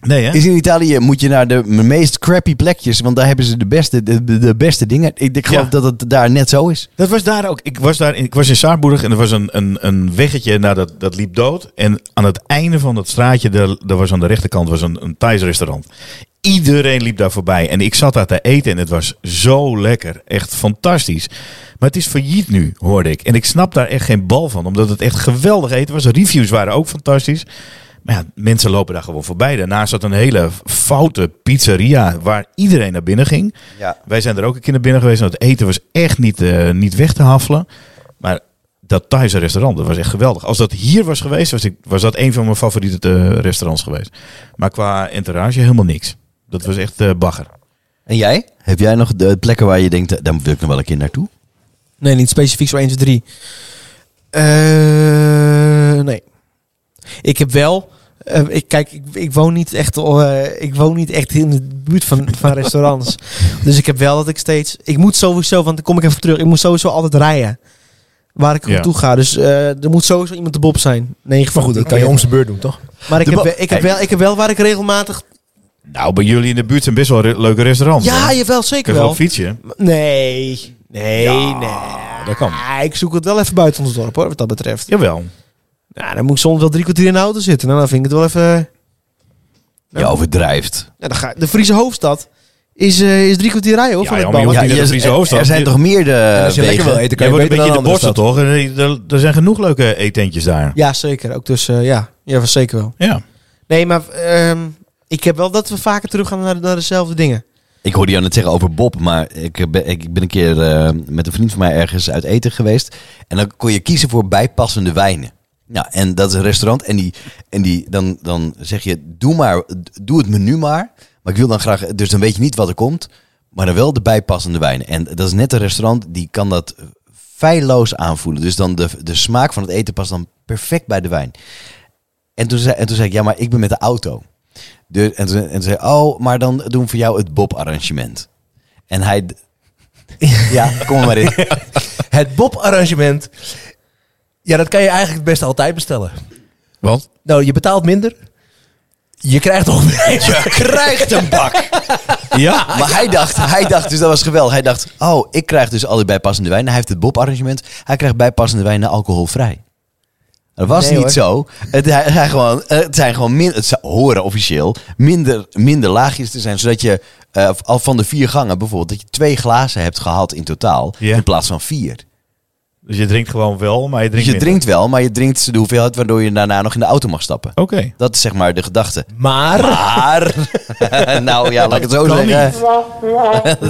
Nee, hè?
Is in Italië moet je naar de meest crappy plekjes. Want daar hebben ze de beste, de, de- de beste dingen. Ik, ik geloof
Ja.
dat het daar net zo is.
Dat was daar ook. Ik was, daar in, ik was in Saarburg en er was een, een, een weggetje, nou, dat, dat liep dood. En aan het einde van dat straatje, daar, daar was aan de rechterkant was een, een Thais restaurant. Iedereen liep daar voorbij. En ik zat daar te eten en het was zo lekker. Echt fantastisch. Maar het is failliet nu, hoorde ik. En ik snap daar echt geen bal van, omdat het echt geweldig eten was. De reviews waren ook fantastisch. Maar ja, mensen lopen daar gewoon voorbij. Daarnaast zat een hele foute pizzeria waar iedereen naar binnen ging.
Ja.
Wij zijn er ook een keer naar binnen geweest. En het eten was echt niet, eh, niet weg te haffelen. Maar dat Thaise restaurant, dat was echt geweldig. Als dat hier was geweest, was, ik, was dat een van mijn favoriete eh, restaurants geweest. Maar qua entourage helemaal niks. Dat was echt eh, bagger.
En jij? Heb jij nog de plekken waar je denkt, eh, daar wil ik nog wel een keer naartoe?
Nee, niet specifiek zo 1, 2, 3. Eh, nee. Ik heb wel... eh, ik, kijk, ik, ik, woon niet echt, eh, ik woon niet echt in de buurt van, van restaurants. Dus ik heb wel dat ik steeds... Ik moet sowieso, want dan kom ik even terug. Ik moet sowieso altijd rijden. Waar ik
Ja.
naartoe ga. Dus eh, er moet sowieso iemand de bob zijn. Nee,
Maar goed, dat kan je om zijn beurt doen, toch?
Maar ik
De
heb,
Bob.
wel- ik, heb wel, ik heb wel waar ik regelmatig...
Nou, bij jullie in de buurt zijn best wel re- leuke restaurants.
Ja,
hoor.
jawel, zeker
Kun je wel
wel.
op fietsen?
Nee. Nee, nee.
dat kan.
Ah, ik zoek het wel even buiten ons dorp, hoor, wat dat betreft.
Jawel.
Nou, dan moet ik soms wel drie kwartier in de auto zitten. eh, Nou, dan vind ik het wel even...
Je overdrijft.
Ja, dan ga, de Friese hoofdstad is, eh, is drie kwartier rijden hoor.
Ja,
van
ja,
het
maar
bouwen.
je hoeft
Ja,
niet naar de
er-
Friese
er-
hoofdstad.
Er zijn
Je-
toch meerdere
als je lekker wil
Eh, wegen?
eten, kan
Jij
je
wordt
beter
een beetje
naar
de
een andere
borstel,
stad.
toch? Er, er- er zijn genoeg leuke eetentjes daar.
Ja, zeker. Ook dus, eh, ja. ja, zeker wel.
Ja.
Nee, maar ehm, ik heb wel dat we vaker teruggaan naar, naar dezelfde dingen.
Ik hoorde jou net zeggen over Bob, maar ik ben, ik ben een keer eh, met een vriend van mij ergens uit eten geweest. En dan kon je kiezen voor bijpassende wijnen. Nou, en dat is een restaurant. En, die, en die, dan, dan zeg je, doe, maar, doe het menu maar. Maar ik wil dan graag, dus dan weet je niet wat er komt. Maar dan wel de bijpassende wijnen. En dat is net een restaurant, die kan dat feilloos aanvoelen. Dus dan de, de smaak van het eten past dan perfect bij de wijn. En toen zei, en toen zei ik, ja, maar ik ben met de auto. Dus, en, toen, en toen zei hij, oh, maar dan doen we voor jou het Bob-arrangement. En hij... d- ja, kom er maar in.
Het Bob-arrangement. Ja, dat kan je eigenlijk het beste altijd bestellen.
Want?
Nou, je betaalt minder. Je krijgt toch meer.
Krijgt een bak!
Ja.
Maar hij dacht, hij dacht, dus dat was geweldig. Hij dacht, oh, ik krijg dus al die bijpassende wijnen. Hij heeft het Bob-arrangement. Hij krijgt bijpassende wijnen alcoholvrij. Dat was
Nee,
niet
hoor.
zo. Het, hij, hij gewoon, het zijn gewoon min, het zou- horen officieel minder, minder laagjes te zijn. Zodat je eh, al van de vier gangen bijvoorbeeld, dat je twee glazen hebt gehad in totaal.
Ja.
In plaats van vier.
Dus je drinkt gewoon wel, maar je
Dus
drinkt
je
minder.
drinkt wel, maar je drinkt de hoeveelheid waardoor je daarna nog in de auto mag stappen.
Oké.
Dat is zeg maar de gedachte.
Maar
Maar, nou ja, laat ik het zo zeggen.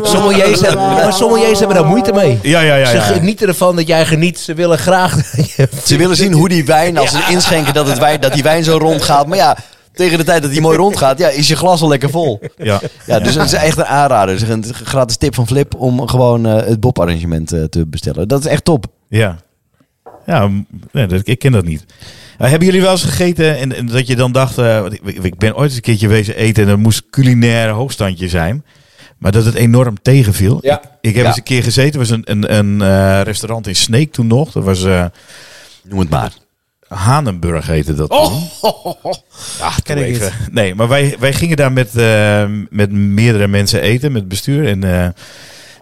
sommeliers hebben, ja, maar sommeliers hebben daar moeite mee.
Ja, ja, ja.
Ze
ja.
genieten ervan dat jij geniet. Ze willen graag. dat je-
Ze willen zien hoe die wijn, als ze inschenken dat, het wijn, dat die wijn zo rond gaat. Maar ja, tegen de tijd dat die mooi rond gaat, ja, is je glas al lekker vol.
Ja.
Ja, dus dat is echt een aanrader. Het is een gratis tip van Flip om gewoon eh, het Bob-arrangement eh, te bestellen. Dat is echt top.
Ja. Ja, m- nee, dat- ik ken dat niet. Eh, hebben jullie wel eens gegeten en, en dat je dan dacht... eh, want ik, ik ben ooit eens een keertje wezen eten en dat moest culinair hoogstandje zijn. Maar dat het enorm tegenviel.
Ja.
Ik, ik heb
Ja.
eens een keer gezeten. was een, een, een eh, restaurant in Sneek toen nog. Dat was eh
Noem het maar.
Hanenburg heette dat. toen. Ja,
Oh. ken
doe
ik
even. Nee, maar wij, wij gingen daar met, eh, met meerdere mensen eten, met het bestuur. En eh,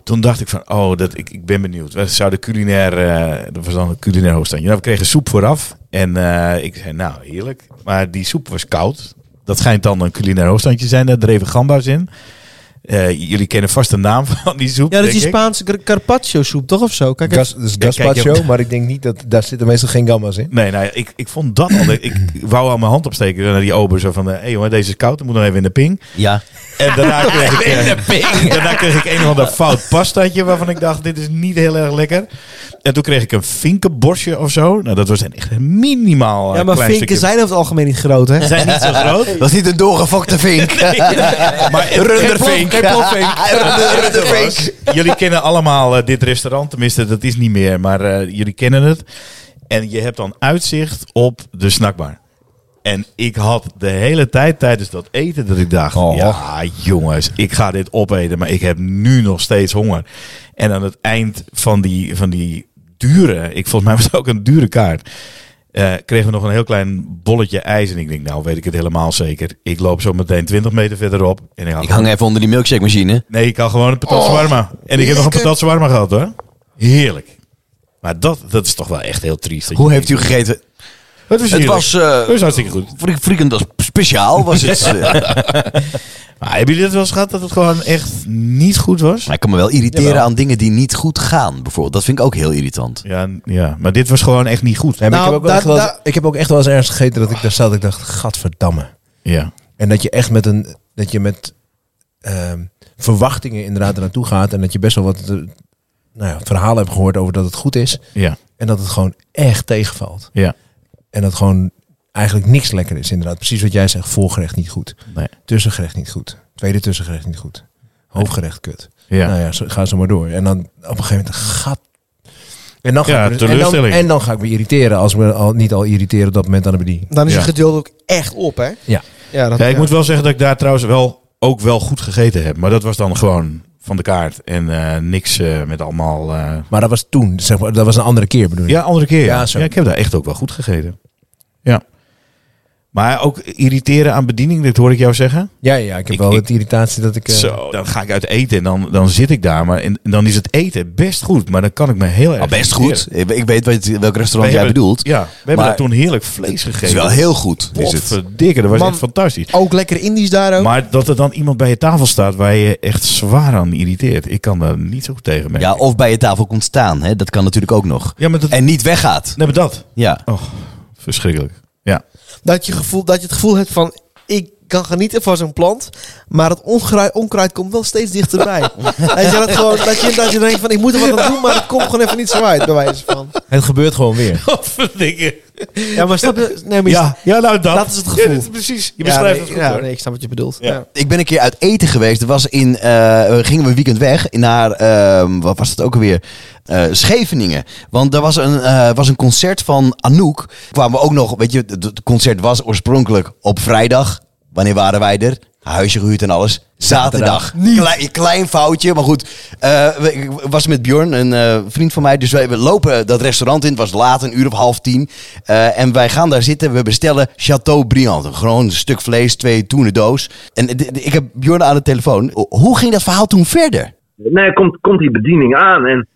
toen dacht ik van, oh, dat, ik, ik ben benieuwd. We zouden culinair, eh, dat was dan een culinair hoofdstandje. Nou, we kregen soep vooraf. En eh, ik zei, nou, heerlijk. Maar die soep was koud. Dat schijnt dan een culinair hoofdstandje te zijn. Daar dreven gamba's in. Eh, jullie kennen vast de naam van die soep.
Ja, dat is die
denk ik.
Spaanse car- carpaccio soep, toch of zo? Kijk, even.
Gas, dus gazpacho,
kijk, je-
maar ik denk niet dat daar zitten meestal geen gamma's in.
Nee, nou, ja, ik, ik vond dat al. Ik, ik wou aan mijn hand opsteken naar die ober. Zo van, hé hey, jongen, deze is koud. Dan moet nog even in de ping.
Ja.
En daarna kreeg ik, eh, daarna kreeg ik een of ander fout pastaatje waarvan ik dacht, dit is niet heel erg lekker. En toen kreeg ik een vinkenborstje of zo. Nou, dat was een echt een minimaal eh,
ja, maar
klein
vinken
stukje.
zijn over het algemeen niet groot, hè?
zijn niet zo groot.
Dat is niet een doorgevokte vink.
Maar
Rundervink.
Geen plofvink.
Rundervink.
jullie kennen allemaal eh, dit restaurant, tenminste, dat is niet meer, maar eh, jullie kennen het. En je hebt dan uitzicht op de snackbar. En ik had de hele tijd tijdens dat eten dat ik dacht,
Oh.
ja jongens, ik ga dit opeten, maar ik heb nu nog steeds honger. En aan het eind van die, van die dure, ik volgens mij was het ook een dure kaart, eh, kregen we nog een heel klein bolletje ijs. En ik denk, nou weet ik het helemaal zeker. Ik loop zo meteen 20 meter verderop. En ik, had
Ik hang even onder die milkshake machine.
Nee, ik kan gewoon een patat shawarma. en ik heb nog een patat shawarma gehad hoor. Heerlijk. Maar dat, dat is toch wel echt heel triest.
Hoe heeft u gegeten?
het? Was
Het
heerlijk.
was eh
Het was hartstikke goed.
frik- frikandel speciaal. Was het, eh.
Maar hebben jullie dat wel eens gehad dat het gewoon echt niet goed was?
Maar ik kan me wel irriteren
Jawel.
aan dingen die niet goed gaan. Bijvoorbeeld, dat vind ik ook heel irritant.
Ja, n- ja, maar dit was gewoon echt niet goed.
Nee, maar
Nou,
ik, heb ook wel
daar-
echt wel eens-
daar-
ik heb ook echt wel eens ergens gegeten dat ik daar zat. Ik dacht, gadverdamme.
Ja.
En dat je echt met een. Dat je met ehm, verwachtingen inderdaad er naartoe gaat. En dat je best wel wat eh, nou ja, verhalen hebt gehoord over dat het goed is.
Ja.
En dat het gewoon echt tegenvalt.
Ja.
En dat gewoon eigenlijk niks lekker is. Inderdaad, precies wat jij zegt. Voorgerecht niet goed.
Nee.
Tussengerecht niet goed. Tweede tussengerecht niet goed. Hoofdgerecht kut.
Ja.
Nou ja, zo, ga zo maar door. En dan op een gegeven moment gaat. En dan, ga
Ja,
ik me dus- en, dan,
teleurstelling.
en dan ga ik me irriteren als we al, niet al irriteren op dat moment aan de bediening.
Dan is
Ja.
het geduld ook echt op, hè?
Ja.
Ja, dat,
Ja, ik moet wel zeggen dat ik daar trouwens wel ook wel goed gegeten heb. Maar dat was dan gewoon van de kaart en eh, niks eh, met allemaal... eh,
Maar dat was toen, zeg maar, dat was een andere keer bedoel je?
Ja, andere keer. Ja,
Ja, zo.
Ja, ik heb daar echt ook wel goed gegeten. Ja. Maar ook irriteren aan bediening, dit hoor ik jou zeggen.
Ja, ja, ik heb
Ik-
wel
ik-
het irritatie dat ik... eh,
Zo, dan ga ik uit eten en dan, dan zit ik daar. Maar en, en dan is het eten best goed, maar dan kan ik me heel erg...
Ah, best
irriteren.
goed. Ik ik weet wat, welk
We
restaurant jij
hebben-
bedoelt.
Ja, we hebben
Maar-
daar toen heerlijk vlees
Het
gegeten.
is wel heel goed. Is het.
Potverdikke, dat was
Man.
echt fantastisch.
Ook lekker Indisch daar ook.
Maar dat er dan iemand bij je tafel staat waar je je echt zwaar aan irriteert. Ik kan daar niet zo goed tegen mee.
Ja, of bij je tafel komt staan. Hè? Dat kan natuurlijk ook nog.
Ja, maar dat...
En niet weggaat.
Nee, maar dat.
Ja.
Oh, verschrikkelijk. Ja.
Dat, je gevoel, dat je het gevoel hebt van, ik kan genieten van zo'n plant, maar het onkruid, onkruid komt wel steeds dichterbij. dat, je dat, gewoon, dat, je, dat je denkt van, ik moet er wat aan doen, maar het komt gewoon even niet zo uit, bij wijze van.
Het gebeurt gewoon weer.
Potverdikke.
Ja, maar snap je? Nee, maar je-
Ja, ja, nou dat.
Dat is het gevoel.
Ja, dit- precies. Je
Ja,
beschrijft
nee,
het goed
ja,
hoor.
nee, ik snap wat je bedoelt.
Ja.
Ja.
Ik ben een keer uit eten geweest. Er was in, eh, we gingen we een weekend weg naar, ehm, wat was dat ook alweer? Eh, Scheveningen. Want er was een, eh, was een concert van Anouk. Kwamen we ook nog, weet je, het het concert was oorspronkelijk op vrijdag. Wanneer waren wij er? Huisje gehuurd en alles. Zaterdag. Klein, klein foutje, maar goed. Eh, we- ik was met Bjorn, een eh, vriend van mij. Dus wij we lopen dat restaurant in. Het was laat, een uur of half tien. Eh, en wij gaan daar zitten. We bestellen Chateaubriand. Gewoon een stuk vlees, twee toenen doos. En d- d- ik heb Bjorn aan de telefoon. O- Hoe ging dat verhaal toen verder?
Nee, komt, komt die bediening aan. En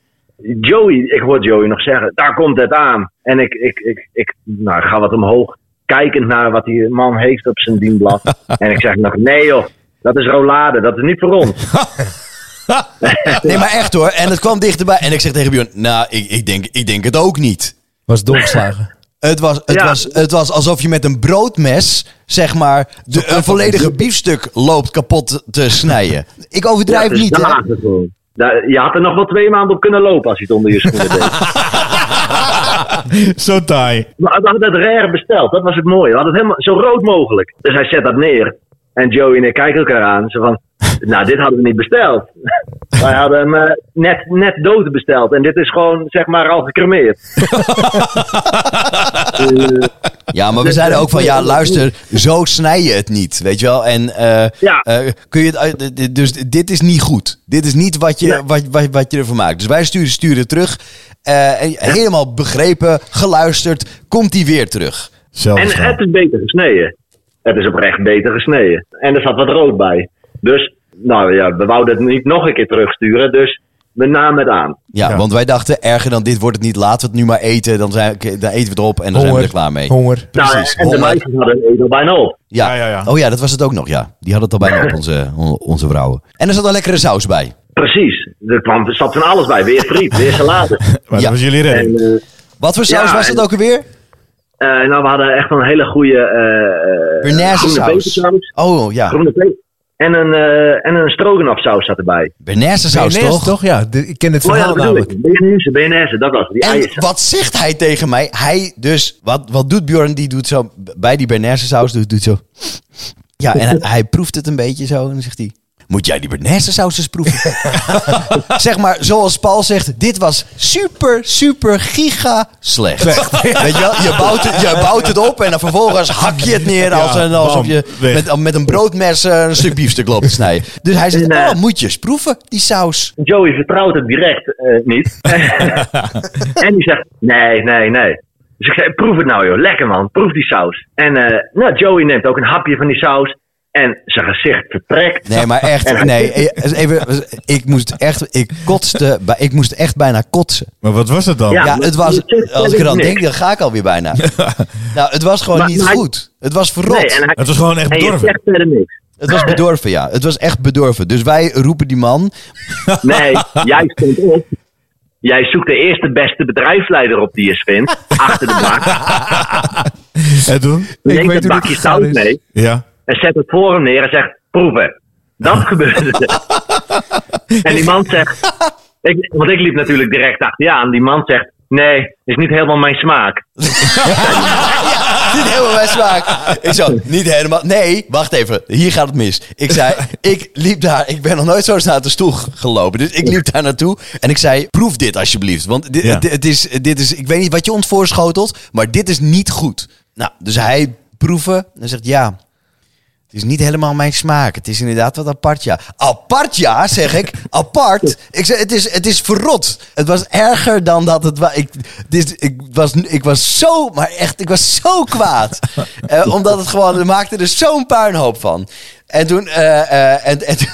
Joey, ik hoor Joey nog zeggen, daar komt het aan. En ik, ik, ik, ik nou, ik ga wat omhoog, kijkend naar wat die man heeft op zijn dienblad. en ik zeg nog, nee joh, dat is roulade, dat is niet voor ons.
Nee, maar echt hoor. En het kwam dichterbij. En ik zeg tegen Bjorn, nou, ik, ik, denk, ik denk het ook niet.
Was doorgeslagen.
Het was, het,
Ja.
was, het was alsof je met een broodmes, zeg maar, de, een volledige biefstuk loopt kapot te snijden. Ik overdrijf
dat is
niet, hè?
dagen gewoon. Daar- je had er nog wel twee maanden op kunnen lopen als je het onder je schoenen deed.
Zo taai.
Maar we hadden het rare besteld, dat was het mooie. We hadden het helemaal zo rood mogelijk. Dus hij zet dat neer. En Joey en ik kijken elkaar aan. Ze van, nou dit hadden we niet besteld. Wij hadden hem eh, net, net dood besteld. En dit is gewoon, zeg maar, al gecremeerd. Eh,
Ja, maar we zeiden ook van, ja, luister, zo snij je het niet, weet je wel? En eh,
Ja.
eh, kun je het, uit- d- d- dus dit is niet goed. Dit is niet wat je,
Nee.
wat, wat, wat je ervan maakt. Dus wij sturen, sturen terug. eh, en helemaal begrepen, geluisterd, komt die weer terug.
Zelfde
en
schaal.
het is beter gesneden. Het is oprecht beter gesneden. En er zat wat rood bij. Dus, nou ja, we wouden het niet nog een keer terugsturen. Dus we namen het aan.
Ja,
Ja.
want wij dachten, erger dan dit wordt het niet. Laten we het nu maar eten, dan, zijn, dan eten we het op en dan zijn we er klaar mee.
Honger.
Precies,
nou, en de
honderd.
meisjes hadden het edel bijna op.
Ja.
Ja, ja, ja.
Oh ja, dat was het ook nog, ja. Die hadden het al bijna op, onze, on- onze vrouwen. En er zat een lekkere saus bij.
Precies. Er, kwam, er zat van alles bij. Weer friet, weer salade.
Ja.
Maar dat was jullie
En,
redding.
eh,
Wat voor saus
Ja,
was dat
en-
ook alweer?
Eh, nou, we hadden echt een hele goede eh, eh
Bernaise
groene
saus.
pepersaus.
Oh ja,
Groene pe- en een, eh en een stroganofsaus zat erbij.
Bernaise saus
Mayonaise,
toch?
Ja, de- ik ken het
Oh ja,
verhaal
dat bedoel
namelijk.
ik. BNS, BNS, dat was het, die
En
eiersaus.
wat zegt hij tegen mij? Hij dus, wat, wat doet Bjorn? Die doet zo, bij die Bernaise saus, doet, doet zo. Ja, en hij, hij proeft het een beetje zo en dan zegt hij... Moet jij die Bernaise saus eens proeven? zeg maar, zoals Paul zegt, dit was super, super, giga slecht. Weet je wel, je bouwt, het, je bouwt het op en dan vervolgens hak je het neer als een, alsof
bam,
je
weg.
met, met een broodmes eh, een stuk biefstuk loopt te snijden. Dus hij zegt,
En, eh,
oh, moet je eens proeven, die saus.
Joey vertrouwt het direct eh, niet. en die zegt, nee, nee, nee. Dus ik zeg, proef het nou joh, lekker man, proef die saus. En eh, nou, Joey neemt ook een hapje van die saus. En zijn gezicht vertrekt.
Nee, maar echt, nee. eh, Even, ik moest echt, ik kotste, bij- ik moest echt bijna kotsen.
Maar wat was het dan?
Ja.
Ja, het was,
je zegt,
als
dat
ik er
is
aan
niks.
denk, dan ga ik alweer bijna. Nou, het was gewoon
Maar-
niet
maar hij-
goed. Het was
Nee,
verrot.
en hij,
Het was gewoon echt
en je
bedorven.
zegt verder niks.
Het was bedorven, ja. Het was echt bedorven. Dus wij roepen die man.
Nee, jij stond op. Jij zoekt de eerste beste bedrijfsleider op die je vindt. Achter de bak.
En toen?
weet
Neemt
hoe
een
dit
bakje
gegaan
saus
is.
mee.
Ja.
En zet het voor hem neer en zegt: proeven. Dat gebeurde. er. en die man zegt. Ik, want ik liep natuurlijk direct achter je aan. Die man zegt: nee, is niet helemaal mijn smaak.
Niet helemaal mijn smaak. Ik zo, niet helemaal. Nee, wacht even. Hier gaat het mis. Ik zei, ik liep daar. Ik ben nog nooit zo snel uit de stoel g- gelopen. Dus ik liep daar naartoe. En ik zei, proef dit alsjeblieft. Want dit,
Ja.
dit- het is, dit is, ik weet niet wat je ons voorschotelt. Maar dit is niet goed. Nou, dus hij proeven. En zegt, ja. Het is niet helemaal mijn smaak. Het is inderdaad wat apart, ja. Apart, ja, zeg ik. Apart. Ik zeg, het, is, het is verrot. Het was erger dan dat het was. Ik, het is- ik, was, ik was zo, maar echt, ik was zo kwaad. Eh, omdat het gewoon, we maakten er zo'n puinhoop van. En toen, eh, eh, en, en toen-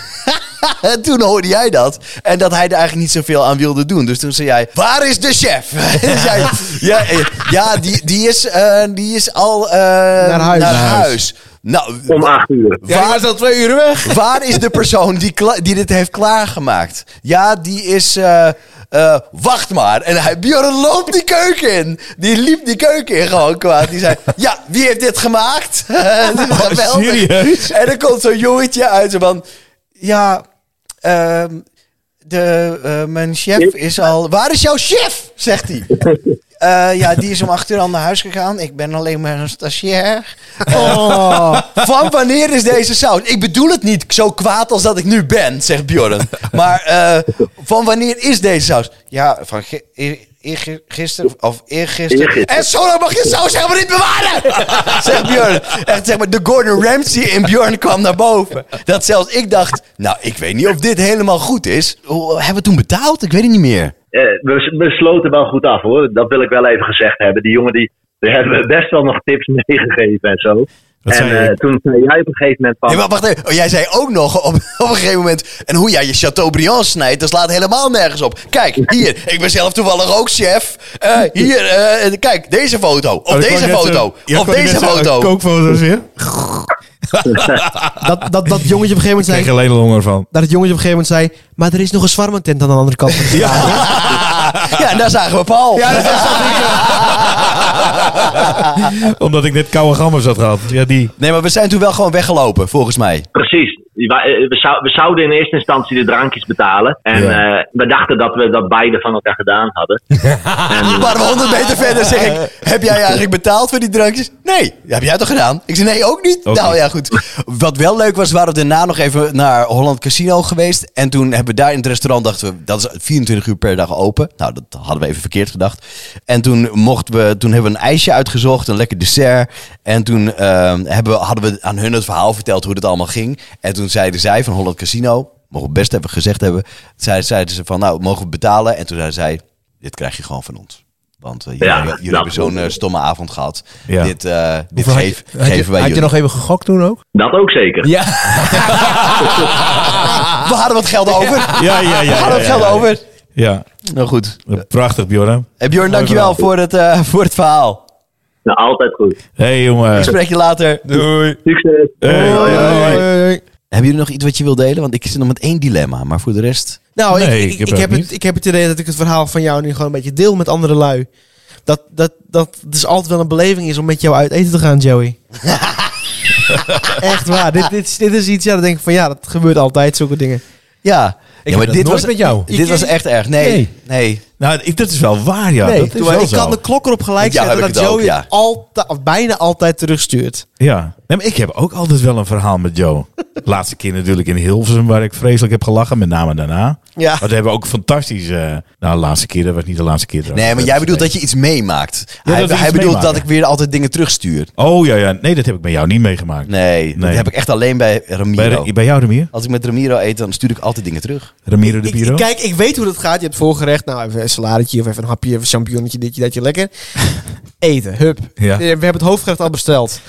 en toen hoorde jij dat. En dat hij er eigenlijk niet zoveel aan wilde doen. Dus toen zei jij, waar is de chef? En zei, ja, eh, ja die, die, is, eh, die is al eh,
huis.
Naar
Naar huis.
huis. Nou,
Om acht uur.
Ja, die was
al twee uur weg.
Waar is de persoon die, kla- die dit heeft klaargemaakt? Ja, die is. eh, eh, wacht maar. En hij, Björn loopt die keuken in. Die liep die keuken in gewoon kwaad. Die zei: Ja, wie heeft dit gemaakt? Dit is geweldig.
serieus?
En er komt zo'n jongetje uit. Zo van: Ja, ehm, de, eh, mijn chef is al. Waar is jouw chef? Zegt hij. Eh, ja, die is om acht uur al naar huis gegaan. Ik ben alleen maar een stagiair. Oh. Van wanneer is deze saus? Ik bedoel het niet zo kwaad als dat ik nu ben, zegt Bjorn. Maar eh, van wanneer is deze saus? Ja, van gi- eer- eergi- gisteren of eergisteren.
Eergisteren.
En zo lang mag je saus helemaal niet bewaren, zegt Bjorn. Echt zeg maar, de Gordon Ramsay in Bjorn kwam naar boven. Dat zelfs ik dacht, nou, ik weet niet of dit helemaal goed is. Hoe- Hebben we toen betaald? Ik weet het niet meer.
Eh, we, we sloten wel goed af hoor. Dat wil ik wel even gezegd hebben. Die jongen die, die hebben best wel nog tips meegegeven en zo.
Wat
en
zei
eh,
je?
toen zei jij op een gegeven moment van...
Nee, maar wacht even. Oh, jij zei ook nog op, op een gegeven moment. En hoe jij je Chateaubriand snijdt, dat slaat helemaal nergens op. Kijk, hier. Ik ben zelf toevallig ook chef. Eh, hier, eh, kijk, deze foto.
Oh,
Of deze foto. of deze foto.
Kookfoto's weer.
Dat, dat, dat jongetje op een gegeven moment
Ik kreeg
zei...
alleen al honger van.
Dat het jongetje op een gegeven moment zei... Maar er is nog een zwarme tent aan de andere kant. van de straat."
ja, en daar zagen we Paul.
Omdat ik net koude gammers had gehad. Ja, die.
nee, maar we zijn toen wel gewoon weggelopen, volgens mij.
Precies. Wa- eh, We, zou- we zouden in eerste instantie de drankjes betalen. En
Ja.
eh, we dachten dat we dat beide van elkaar gedaan hadden. Ah.
Een paar honderd meter verder zeg ik: Heb jij eigenlijk betaald voor die drankjes? Nee. Dat heb jij toch gedaan? Ik zei: Nee, ook niet.
Ook
nou
niet.
ja, goed. Wat wel leuk was, waren we daarna nog even naar Holland Casino geweest. En toen hebben we daar in het restaurant, dachten we, dat is 24 uur per dag open. Nou, dat hadden we even verkeerd gedacht. En toen mochten we, toen hebben we een ijsje uitgezocht, een lekker dessert. En toen ehm, hebben we, hadden we aan hun het verhaal verteld hoe het allemaal ging. En toen zeiden zij van Holland Casino, mogen we best even gezegd hebben. Zij, zeiden ze van, nou, mogen we betalen? En toen zei zij, dit krijg je gewoon van ons. Want eh, jullie,
Ja,
jullie
nou,
hebben zo'n
goed.
eh, stomme avond gehad.
Ja.
Dit, eh, dit
Hoeveel had je-
geef-
had je-
geven wij
Had je
jullie.
nog even gegokt toen ook?
Dat ook zeker.
Ja.
We hadden wat geld over.
Ja, ja, ja.
We
ja,
hadden wat
ja,
geld
ja.
over.
Ja,
Nou goed.
Eh, prachtig Bjorn.
Eh, Bjorn, dankjewel voor het, eh, voor het verhaal.
Nou, altijd goed.
hey, jongen.
Ik spreek je later.
Doei.
Succes.
Hey, hoi, hoi.
Hebben jullie nog iets wat je wilt delen? Want ik zit nog met één dilemma, maar voor de rest...
Nou,
Nee,
ik, ik, ik,
ik heb ook
heb het,
niet.
ik heb het idee dat ik het verhaal van jou nu gewoon een beetje deel met andere lui. Dat, dat, dat het dus altijd wel een beleving is om met jou uit eten te gaan, Joey. Echt waar. Dit, dit, is- dit is iets, ja, dan denk ik van ja, dat gebeurt altijd, zulke dingen.
Ja,
heb
ja maar
dat
dit
nooit
was,
met jou.
dit was echt erg. Nee, nee.
Nee.
Nou, ik, dat is wel waar, ja.
Nee,
dat is
Doe maar,
wel
ik
zo.
kan de klok erop gelijk
Ja,
zetten
heb ik
dat
het ook,
Joey
ja.
alta- of bijna altijd terugstuurt.
Ja. Nee, maar ik heb ook altijd wel een verhaal met Joe. Laatste keer natuurlijk in Hilversum, waar ik vreselijk heb gelachen, met name daarna.
Ja.
Maar we hebben ook fantastisch... eh, nou, de laatste keer, dat was niet de laatste keer. trouwens.
Nee, maar jij
Dat is-
bedoelt dat je iets meemaakt. hij
dat we
hij
iets
bedoelt dat
meemaken.
ik weer altijd dingen terugstuur.
Oh, ja, ja. Nee, dat heb ik bij jou niet meegemaakt.
Nee, dat
Nee.
heb ik echt alleen bij
Bij,
Ramiro.
Ra- bij jou, Ramiro?
Als ik met Ramiro eet, dan stuur ik altijd dingen terug.
Ramiro de
Ik, ik-
Piro?
kijk, ik weet hoe dat gaat. Je hebt voorgerecht. Nou, even een saladetje of even een hapje, even een champignonnetje, ditje, datje, lekker. Eten, hup.
Ja.
Eh, We hebben het hoofdgerecht al besteld.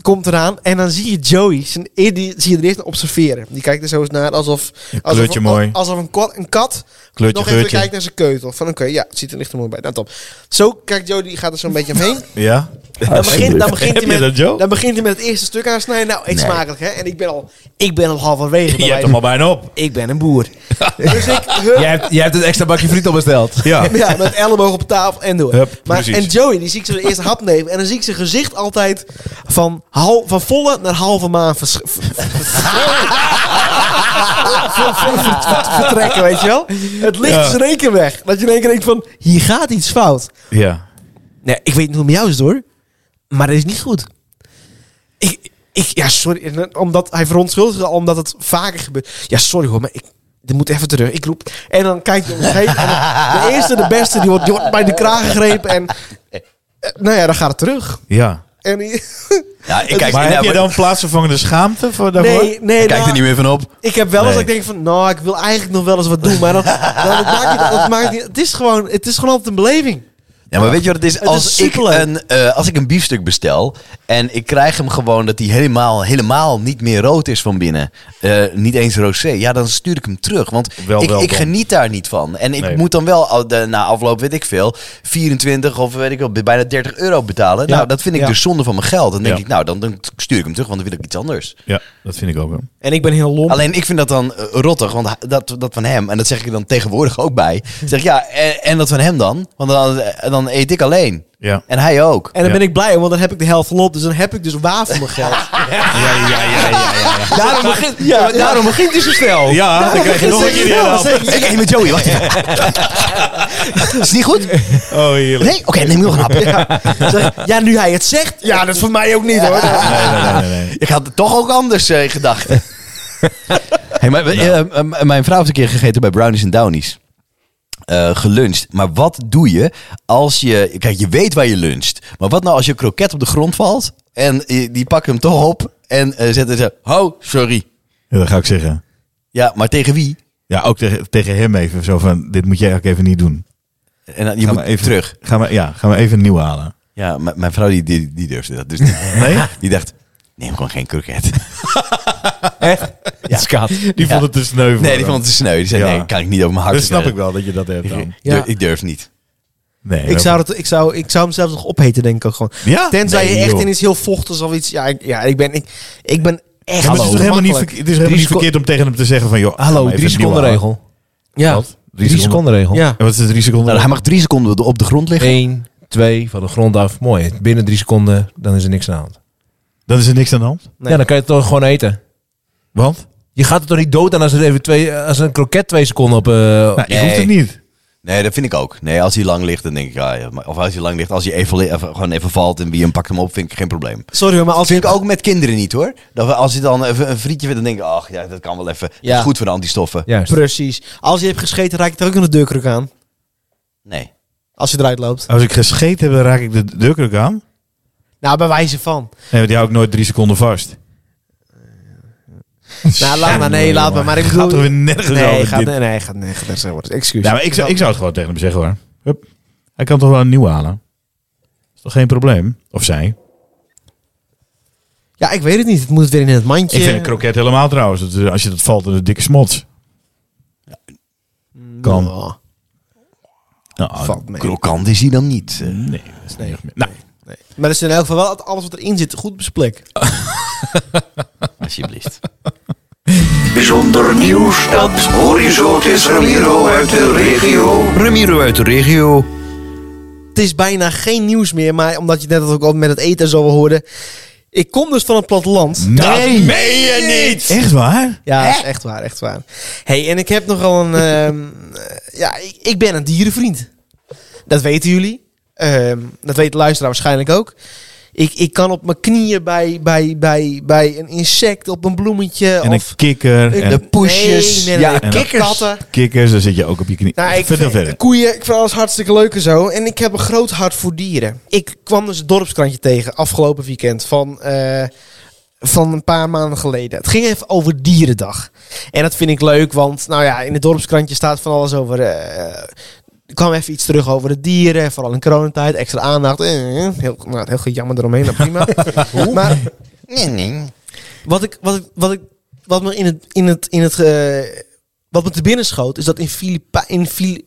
Komt eraan en dan zie je Joey, zijn, eer- die zie je er eerst naar observeren. Die kijkt er zo eens naar alsof... alsof
kleurtje
een-
mooi.
Alsof een, ko- een kat
Kleurtje,
nog even
geurtje.
kijkt naar zijn keutel. Van oké, ja, het ziet er licht er mooi bij. Nou, top. Zo kijkt Joey, die gaat er zo'n beetje omheen.
Ja?
Dan begint, dan, begint
Heb
hij
je dat,
met,
Joe?
dan begint hij met het eerste stuk aansnijden. Nou, eet smakelijk, hè. En ik ben al, ik ben al halverwege. bij
Je hebt
wijze-
hem al bijna op.
Ik ben een boer. dus ik, hup,
Jij hebt, jij hebt een extra bakje friet al besteld.
Ja.
ja, met elleboog op tafel en door.
Hup,
maar,
precies.
en Joey, die zie ik zo de eerste hap nemen. En dan zie ik zijn gezicht altijd van, hal, van volle naar halve maan vers, ver- ver- ver- ver- ver- ver- vertrekken, weet je wel? Het licht
Ja.
is in één keer weg. Dat je in één keer denkt van, hier gaat iets fout.
Ja.
Nee, ik weet niet hoe het met jou is hoor. Maar dat is niet goed. Ik, ik, ja, sorry. Omdat hij verontschuldigt al omdat het vaker gebeurt. Ja, sorry hoor, maar ik. Dit moet even terug. Ik roep. En dan kijkt hij om zich heen. en dan- De eerste, de beste, die wordt, die wordt bij de kraag gegrepen. En. eh, Nou ja, dan gaat het terug.
Ja.
En die-
Ja, ik kijk,
maar heb
nou,
je dan plaatsvervangende schaamte voor daarvoor?
nee, nee,
ik kijk
nou,
er niet meer van op.
Ik heb wel eens
Nee.
dat ik denk van, nou, ik wil eigenlijk nog wel eens wat doen. Maar dan, dan maak je dat, dat maakt niet, het, is gewoon, het is gewoon altijd een beleving.
Ja,
Ah,
maar weet je wat het is?
is
Als, ik,
superleuk.
een, eh, als ik een biefstuk bestel en ik krijg hem gewoon dat hij helemaal, helemaal niet meer rood is van binnen. eh, niet eens rosé. Ja, dan stuur ik hem terug. Want
Wel,
ik,
wel
ik
dan.
geniet daar niet van. En ik
Nee.
moet dan wel al- de- na afloop, weet ik veel, 24 of weet ik wel, bijna 30 euro betalen.
Ja.
Nou, dat vind ik
Ja.
dus zonde van mijn geld. Dan denk
Ja.
ik, nou, dan, dan stuur ik hem terug, want dan wil ik iets anders.
Ja, dat vind ik ook wel.
En ik ben heel lomp.
Alleen ik vind dat dan eh, rottig, want hij- dat, dat van hem, en dat zeg ik er dan tegenwoordig ook bij. Ik Zeg ja, en, en dat van hem dan? Want dan, eh, dan eet ik alleen.
Ja.
En hij ook.
en dan
Ja.
ben ik blij, want dan heb ik de helft van op. Dus dan heb ik dus waar voor mijn geld.
Ja, ja, ja, ja. Ja,
Daarom begint, ja, daarom begint hij zo snel.
Oh.
ja dan krijg je nog een keer die hele hap.
Ik eet met Joey, wacht even. Is niet goed?
Oh, heerlijk.
Nee? Oké, neem nog een hap.
Zeg, ja, nu hij het zegt. Ja, dat is voor mij ook niet hoor.
Nee, nee, nee, nee, nee.
Ik had het toch ook anders eh, in gedachten. Hey, maar, eh, eh, eh, mijn vrouw heeft een keer gegeten bij Brownies en Downies. Eh, geluncht. Maar wat doe je als je... Kijk, je weet waar je luncht. Maar wat nou als je kroket op de grond valt... en eh, die pakken hem toch op en eh, zetten ze... Oh, sorry.
Ja, dat ga ik zeggen.
Ja, maar tegen wie?
Ja, ook tegen, tegen hem even. Zo van, dit moet jij ook even niet doen.
En dan, je
Ga
moet
maar even
terug.
Gaan we, ja, gaan we even een nieuwe halen.
Ja, m- mijn vrouw die, die, die durfde dat dus niet.
Nee?
Die dacht, neem gewoon geen kroket.
Ja. Die
Ja.
vond het te sneu. voor
Nee, die
hem.
vond het te sneu. Die zei,
Ja.
nee, kan ik niet over mijn hart.
Dat snap ik wel, dat je dat hebt dan.
Ja.
Ik durf niet.
Nee,
Ik zou, dat, ik, zou, ik zou hem zelfs nog opheten, denk ik ook gewoon.
Ja?
Tenzij
Nee,
je echt
joh.
in iets heel vochtigs of iets. Ja, ik, ja, ik, ben, ik, ik ben echt.
Ja, maar het is toch helemaal niet,
ongemakkelijk.
verke- het is helemaal niet
seco-
verkeerd om tegen hem te zeggen van... joh,
Hallo,
even
drie
een nieuwe
seconden
halen.
regel.
Ja.
Wat? Drie,
Drie
seconden.
seconden regel.
Ja.
En wat is de drie seconden?
Nou, hij mag drie seconden op de grond liggen.
1, 2 van de grond af. Mooi. Binnen drie seconden, dan is er niks aan de hand.
Dan is er niks aan de hand.
Nee.
Ja, dan kan je het toch gewoon eten.
Want?
Je gaat er toch niet dood aan als er even twee, als een kroket twee seconden op. eh,
Nou, je
Nee.
hoeft het niet.
Nee, dat vind ik ook. Nee, als hij lang ligt, dan denk ik, ah, ja, ja, maar- of als hij lang ligt, als hij even, li- even- gewoon even valt en wie hem pakt hem op, vind ik geen probleem.
Sorry hoor, maar als
Dat vind ik ook met kinderen niet hoor. Dat we, als hij dan even een frietje vindt, dan denk ik, ach ja, dat kan wel even. Dat
Ja.
is goed voor de antistoffen.
Juist.
Precies. Als je hebt gescheten, raak je er ook nog de deurkruk aan.
Nee.
Als je eruit loopt.
Als ik gescheten heb, dan raak ik de deurkruk aan. Nee,
Nou, bij wijze van.
want die hou ik nooit drie seconden vast.
Nou, laat maar. Nee,
Jongen,
laat maar. Maar ik
gaat
bedoel...
er weer nergens
nee,
over,
gaat,
dit.
nee, nee, gaat nergens nergens over. Excuus.
Nou, maar ik, zou, ik zou het gewoon tegen hem zeggen hoor. Hup. Hij kan toch wel een nieuwe halen? Is toch geen probleem? Of zij?
Ja, ik weet het niet. Het moet weer in het mandje.
Ik vind een kroket helemaal trouwens. Dat, eh, als je dat valt, dan is het dikke smots. Kan.
Oh,
Nou,
valt mee.
Krokant is hij dan niet. eh.
nee.
Nee.
Nou,
Maar dat is in elk geval wel alles wat erin zit goed besprek.
Alsjeblieft.
Bijzonder nieuws, dat hoor je zo. Het is Ramiro uit de regio.
Ramiro uit de regio.
Het is bijna geen nieuws meer, maar omdat je net ook al met het eten zo hoorde. Ik kom dus van het platteland.
nee. meen je niet! Echt waar?
Ja, dat is echt waar, echt waar. hey, en ik heb nogal een... ehm, eh, ja, ik, ik ben een dierenvriend. Dat weten jullie. Ehm, dat weet de luisteraar waarschijnlijk ook. Ik, ik kan op mijn knieën bij, bij, bij, bij een insect, op een bloemetje.
En
of
een kikker. En
Nee,
poesjes.
nee, nee,
Ja,
nee,
en
kikkers. Katten.
kikkers, dan zit je ook op je knie.
Nou, ik
Vertel
vind
verder.
koeien, ik vind alles hartstikke leuk en zo. En ik heb een groot hart voor dieren. Ik kwam dus het dorpskrantje tegen afgelopen weekend van, eh, van een paar maanden geleden. Het ging even over Dierendag. En dat vind ik leuk, want nou ja, in het dorpskrantje staat van alles over... eh, er kwam even iets terug over de dieren, vooral in coronatijd, extra aandacht. Eh, heel, nou, heel goed jammer eromheen, nou prima. maar
Nee, nee.
wat ik, wat ik, wat ik, wat me in het, in het, in het, eh, wat me te binnen schoot, is dat in Filipijn, in Fili-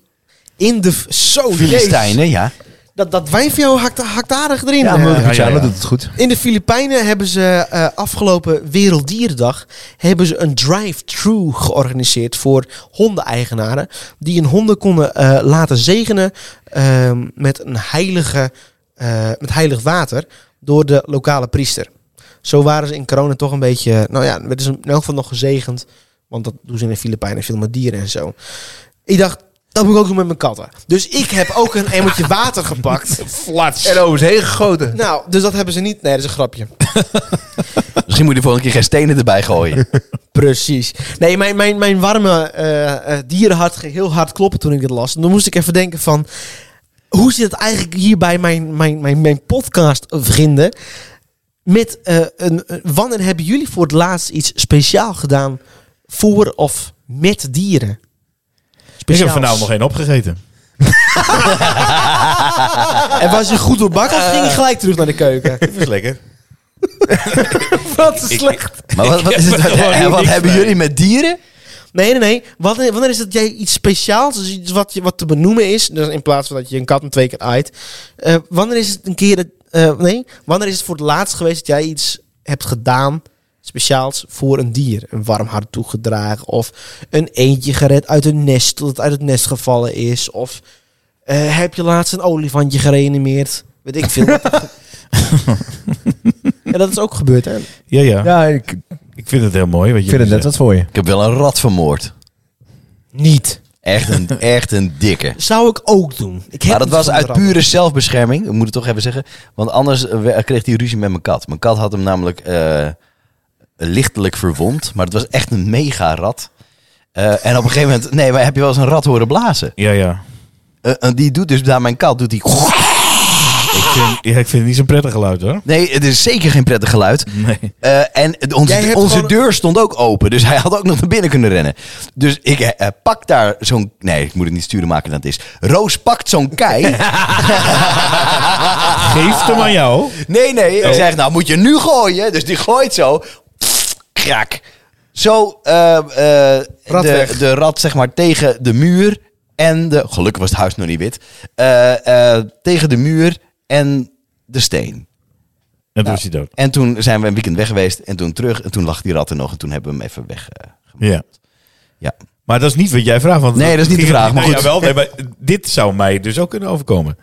in de, v- zo,
Oh,
jezus.
Filistijnen, ja.
dat, dat wijn van jou hakt, haktaardig erin.
Ja, maar
eh.
Luciano
ja, ja.
doet het goed.
In de Filipijnen hebben ze eh, afgelopen Werelddierendag hebben ze een drive-thru georganiseerd voor hondeneigenaren. Die hun honden konden eh, laten zegenen ehm, met, een heilige, eh, met heilig water door de lokale priester. Zo waren ze in corona toch een beetje, nou ja, werden ze in elk geval nog gezegend. Want dat doen ze in de Filipijnen veel met dieren en zo. Ik dacht, dat moet ik ook doen met mijn katten. Dus ik heb ook een emmertje water gepakt.
Flats. En over heen gegoten.
Nou, dus dat hebben ze niet. Nee, dat is een grapje.
Misschien moet je de volgende keer geen stenen erbij gooien.
Precies. Nee, mijn, mijn, mijn warme eh eh, dierenhart ging heel hard kloppen toen ik dit las. En dan moest ik even denken van... hoe zit het eigenlijk hier bij mijn, mijn, mijn, mijn podcast eh, vrienden? Met eh, een, een- wanneer hebben jullie voor het laatst iets speciaal gedaan voor of met dieren?
Ik heb
Speciaals.
vanavond nog één opgegeten.
En was je goed doorbakken of ging je gelijk terug naar de keuken?
Dat is lekker.
Wat slecht.
Maar wat, wat, is het,
Ik heb er gewoon
en wat
niks
hebben
mee.
jullie met dieren?
Nee, nee, nee. Wanneer, wanneer is dat jij iets speciaals, dus iets wat, je, wat te benoemen is, dus in plaats van dat je een kat een twee keer aait. eh, wanneer is het een keer, dat- eh, nee, wanneer is het voor het laatst geweest dat jij iets hebt gedaan speciaals voor een dier? Een warm hart toegedragen of een eentje gered uit een nest tot het uit het nest gevallen is. Of eh, heb je laatst een olifantje gereanimeerd? Weet ik veel. ja, dat is ook gebeurd, hè?
Ja, ja,
Ja, ik
Ik vind het heel mooi. Wat je
vind het net wat voor je.
Ik heb wel een rat vermoord.
Niet.
Echt een, echt een dikke.
Zou ik ook doen. Ik heb
Maar dat
niet
was
van
uit
de rand.
pure zelfbescherming. Ik moet het toch even zeggen. Want anders eh, we- kreeg hij ruzie met mijn kat. Mijn kat had hem namelijk eh, lichtelijk verwond. Maar het was echt een mega rat. Eh, en op een gegeven moment... Nee, maar heb je wel eens een rat horen blazen?
Ja, ja.
Eh, eh, die doet dus daar mijn kat. Doet die...
Ik vind, ja, ik vind het niet zo'n prettig geluid hoor.
Nee, het is zeker geen prettig geluid.
Nee.
Eh, en het- onze,
Jij hebt
onze
gewoon-
deur stond ook open, dus hij had ook nog naar binnen kunnen rennen. Dus ik eh, eh, pak daar zo'n... Nee, ik moet het niet sturen maken dan het is. Roos pakt zo'n kei.
Geef hem aan jou. Oh.
Nee, nee. Hij zegt, nou moet je nu gooien. Dus die gooit zo. Krak. Zo eh, eh,
Rat
de,
weg.
de rat zeg maar tegen de muur. En de... Gelukkig was het huis nog niet wit. Eh, eh, tegen de muur en de steen.
En toen is hij dood.
En toen zijn we een weekend weg geweest. En toen terug. En toen lag die rat er nog. En toen hebben we hem even weg. eh,
Ja.
ja.
Maar dat is niet wat jij vraagt. Want
Nee, dat is niet de vraag, maar
Nee,
goed.
jawel, nee, maar dit zou mij dus ook kunnen overkomen.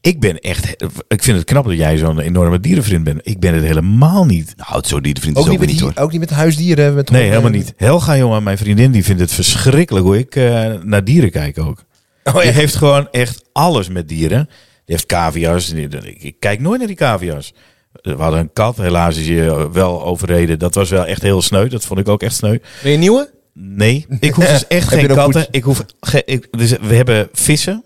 Ik ben echt... Ik vind het knap dat jij zo'n enorme dierenvriend bent. Ik ben het helemaal niet.
Nou, zo die de vriend is
Ook
ook,
niet,
weer
met
niet hoor.
die, ook niet met huisdieren. Met
Nee,
honden.
helemaal niet. Helga, jongen, mijn vriendin, die vindt het verschrikkelijk hoe ik eh, naar dieren kijk ook.
Oh,
Die heeft gewoon echt alles met dieren. Die heeft cavia's. Die- die- Ik, ik kijk nooit naar die cavia's. We hadden een kat, helaas is je wel overreden. Dat was wel echt heel sneu. Dat vond ik ook echt sneu.
Wil je een nieuwe?
Nee, ik hoef dus echt
Heb je
geen
nog
katten.
goed-
Ik hoef ge- ik, dus we hebben vissen.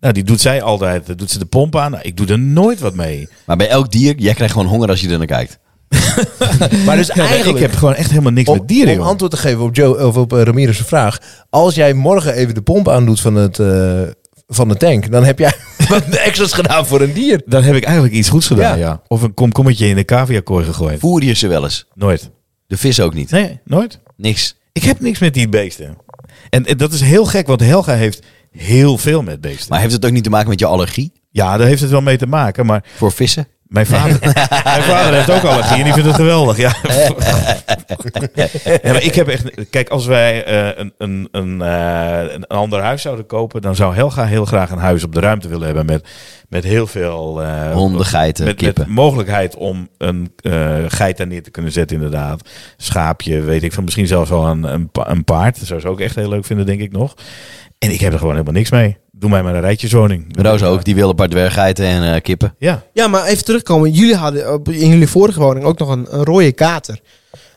Nou, die doet zij altijd. Dan doet ze de pomp aan. Nou, ik doe er nooit wat mee.
Maar bij elk dier, jij krijgt gewoon honger als je er naar kijkt.
Maar dus
Ja, maar
eigenlijk...
ik heb gewoon echt helemaal niks
Om,
met dieren,
om
joh.
antwoord te geven op, Joe, of op eh, Ramirez' vraag. Als jij morgen even de pomp aandoet van, het, eh, van de tank, dan heb jij wat extra's gedaan voor een dier.
Dan heb ik eigenlijk iets goeds gedaan,
Ja.
ja. Of een komkommetje in de caviakooi gegooid.
Voer je ze wel eens?
Nooit.
De vis ook niet.
Nee, nooit.
Niks.
Ik heb niks met die beesten. En, en dat is heel gek, want Helga heeft heel veel met beesten.
Maar heeft het ook niet te maken met je allergie
ja, daar heeft het wel mee te maken. Maar
voor vissen?
mijn vader, mijn vader heeft ook allergie en die vindt het geweldig. Ja. ja, maar ik heb echt... Kijk, als wij eh, een, een, een, eh, een ander huis zouden kopen... dan zou Helga heel graag een huis op de ruimte willen hebben... met, met heel veel... eh,
Honden, geiten,
met,
kippen.
Met mogelijkheid om een eh, geit daar neer te kunnen zetten, inderdaad. Schaapje, weet ik van. Misschien zelfs wel een, een, pa- een paard. Dat zou ze ook echt heel leuk vinden, denk ik nog. En ik heb er gewoon helemaal niks mee. Doe mij maar een rijtjeswoning.
Roos ook, die wil een paar dwerggeiten en eh, kippen.
Ja.
Ja, maar even terugkomen. Jullie hadden op- in jullie vorige woning ook nog een, een rode kater.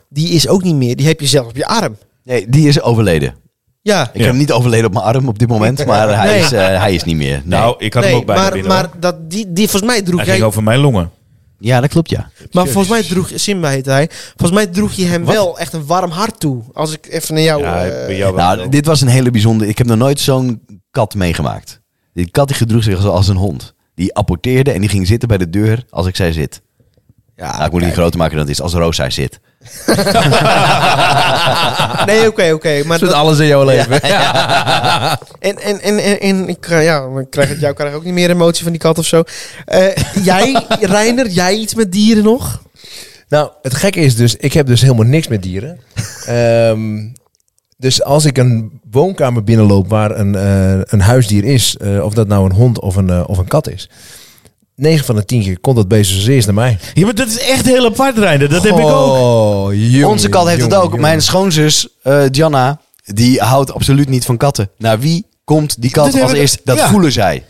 Die is ook niet meer. Die heb je zelf op je arm.
Nee, die is overleden.
Ja.
Ik heb hem niet overleden op mijn arm op dit moment, maar hij,
Nee.
is, eh, hij is niet meer. Nee.
Nou, ik had
nee,
hem ook bijna
maar,
binnen. hoor.
maar dat, die, die, volgens mij droeg
Hij
jij...
ging over mijn longen.
Ja, dat klopt ja.
Maar volgens mij droeg... Simba heette hij. Volgens mij droeg je hem wel echt een warm hart toe. Als ik even naar jou...
Ja,
eh,
bij jou Oh, wel.
Nou, dit was een hele bijzondere... Ik heb nog nooit zo'n kat meegemaakt. Die kat die gedroeg zich als een hond. Die apporteerde en die ging zitten bij de deur als ik zei zit. Ja, ik moet het niet groter maken dan het is. Als Roos zei zit.
nee, oké, oké. maar dat-
alles in jouw leven.
En, en, en, en, en ik, eh, ja, ik krijg het jou krijg ook niet meer emotie van die kat of zo. Eh, jij, Reiner, jij iets met dieren nog?
Nou, het gekke is dus, ik heb dus helemaal niks met dieren. Ehm, dus als ik een woonkamer binnenloop waar een, eh, een huisdier is, eh, of dat nou een hond of een, eh, of een kat is, 9 van de 10 keer komt dat beest dus als eerst naar mij.
Ja, maar dat is echt heel apart, Reiner. Dat heb ik ook.
Oh, jongen,
Onze kat heeft het
jongen,
ook.
jongen.
Mijn schoonzus, eh Gianna, die houdt absoluut niet van katten. Naar wie komt die kat
Dat
als
hebben-
eerst? Dat
ja.
voelen zij.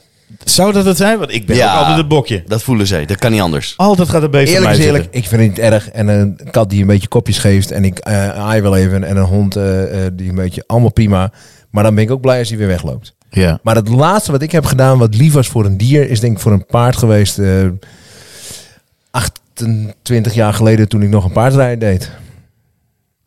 Zou dat het zijn? Want ik ben
Ja.
ook altijd het bokje.
Dat voelen zij. Dat kan niet anders.
Altijd gaat het beest
Eerlijk
bij
is
mij
eerlijk, ik vind het niet erg. En een kat die een beetje kopjes geeft en ik eh aai wel even. En een hond eh, eh, die een beetje, allemaal prima. Maar dan ben ik ook blij als hij weer wegloopt.
Ja.
Maar het laatste wat ik heb gedaan, wat lief was voor een dier, is denk ik voor een paard geweest. eh 28 jaar geleden toen ik nog een paardrijden deed.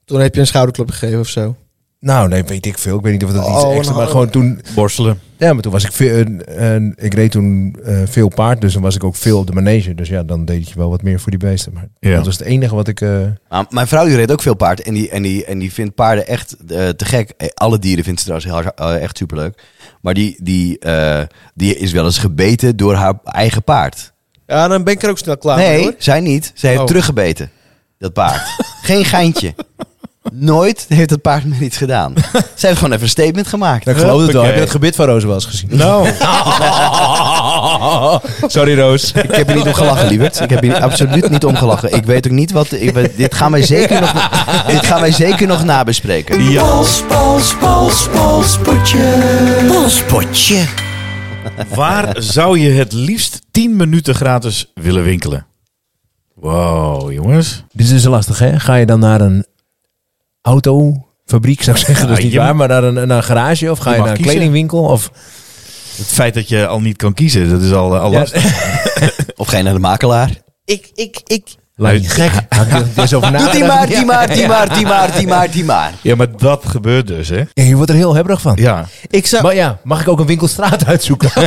Toen heb je een schouderklop gegeven of zo.
Nou, nee, weet ik veel. Ik weet niet of dat
Oh,
iets extra
nou.
Maar gewoon toen...
Borstelen.
Ja, maar toen was ik veel... En, en ik reed toen eh, veel paard, dus dan was ik ook veel op de manege. Dus ja, dan deed je wel wat meer voor die beesten. Maar
Ja.
dat was het enige wat ik... eh,
Maar mijn vrouw die reed ook veel paard en die, en die, en die vindt paarden echt eh, te gek. Eh, Alle dieren vindt ze trouwens heel, hard- eh, echt superleuk. Maar die, die, eh, die is wel eens gebeten door haar eigen paard.
Ja, dan ben ik er ook snel klaar mee
nee,
hoor.
zij niet. Zij heeft
Oh.
teruggebeten, dat paard. Geen geintje. Nooit heeft het paard meer iets gedaan. Zij heeft gewoon even een statement gemaakt.
nou, ik geloof het wel.
Huppakee.
Heb je het gebit van Rozen wel eens gezien?
Nou.
Sorry, Roos.
Ik heb hier niet om gelachen, lieverd. Ik heb hier absoluut niet om gelachen. Ik weet ook niet wat... ik weet- dit, gaan wij zeker nog, dit gaan wij zeker nog nabespreken.
Ja.
Pols, pols, pols, polspotje. Polspotje.
Waar zou je het liefst 10 minuten gratis willen winkelen? Wow, jongens.
Dit is dus lastig, hè? Ga je dan naar een autofabriek, zou ik zeggen. Dat
Ja,
is niet
je-
waar, maar naar een, naar een garage. Of ga
Je
Ah, je
mag
naar een
kiezen.
kledingwinkel. Of
Het feit dat je al niet kan kiezen, dat is al, eh, al
Ja.
lastig.
Of ga je naar de makelaar?
Ik, ik, ik.
Lijkt me gek. Had ik er eens dus over
Doe die
nagedacht?
maar, die maar, die maar, die maar, die maar, die maar.
Ja, maar dat gebeurt dus, hè?
Ja, je wordt er heel hebberig van.
Ja.
Ik zou...
Maar ja, mag ik ook een winkelstraat uitzoeken?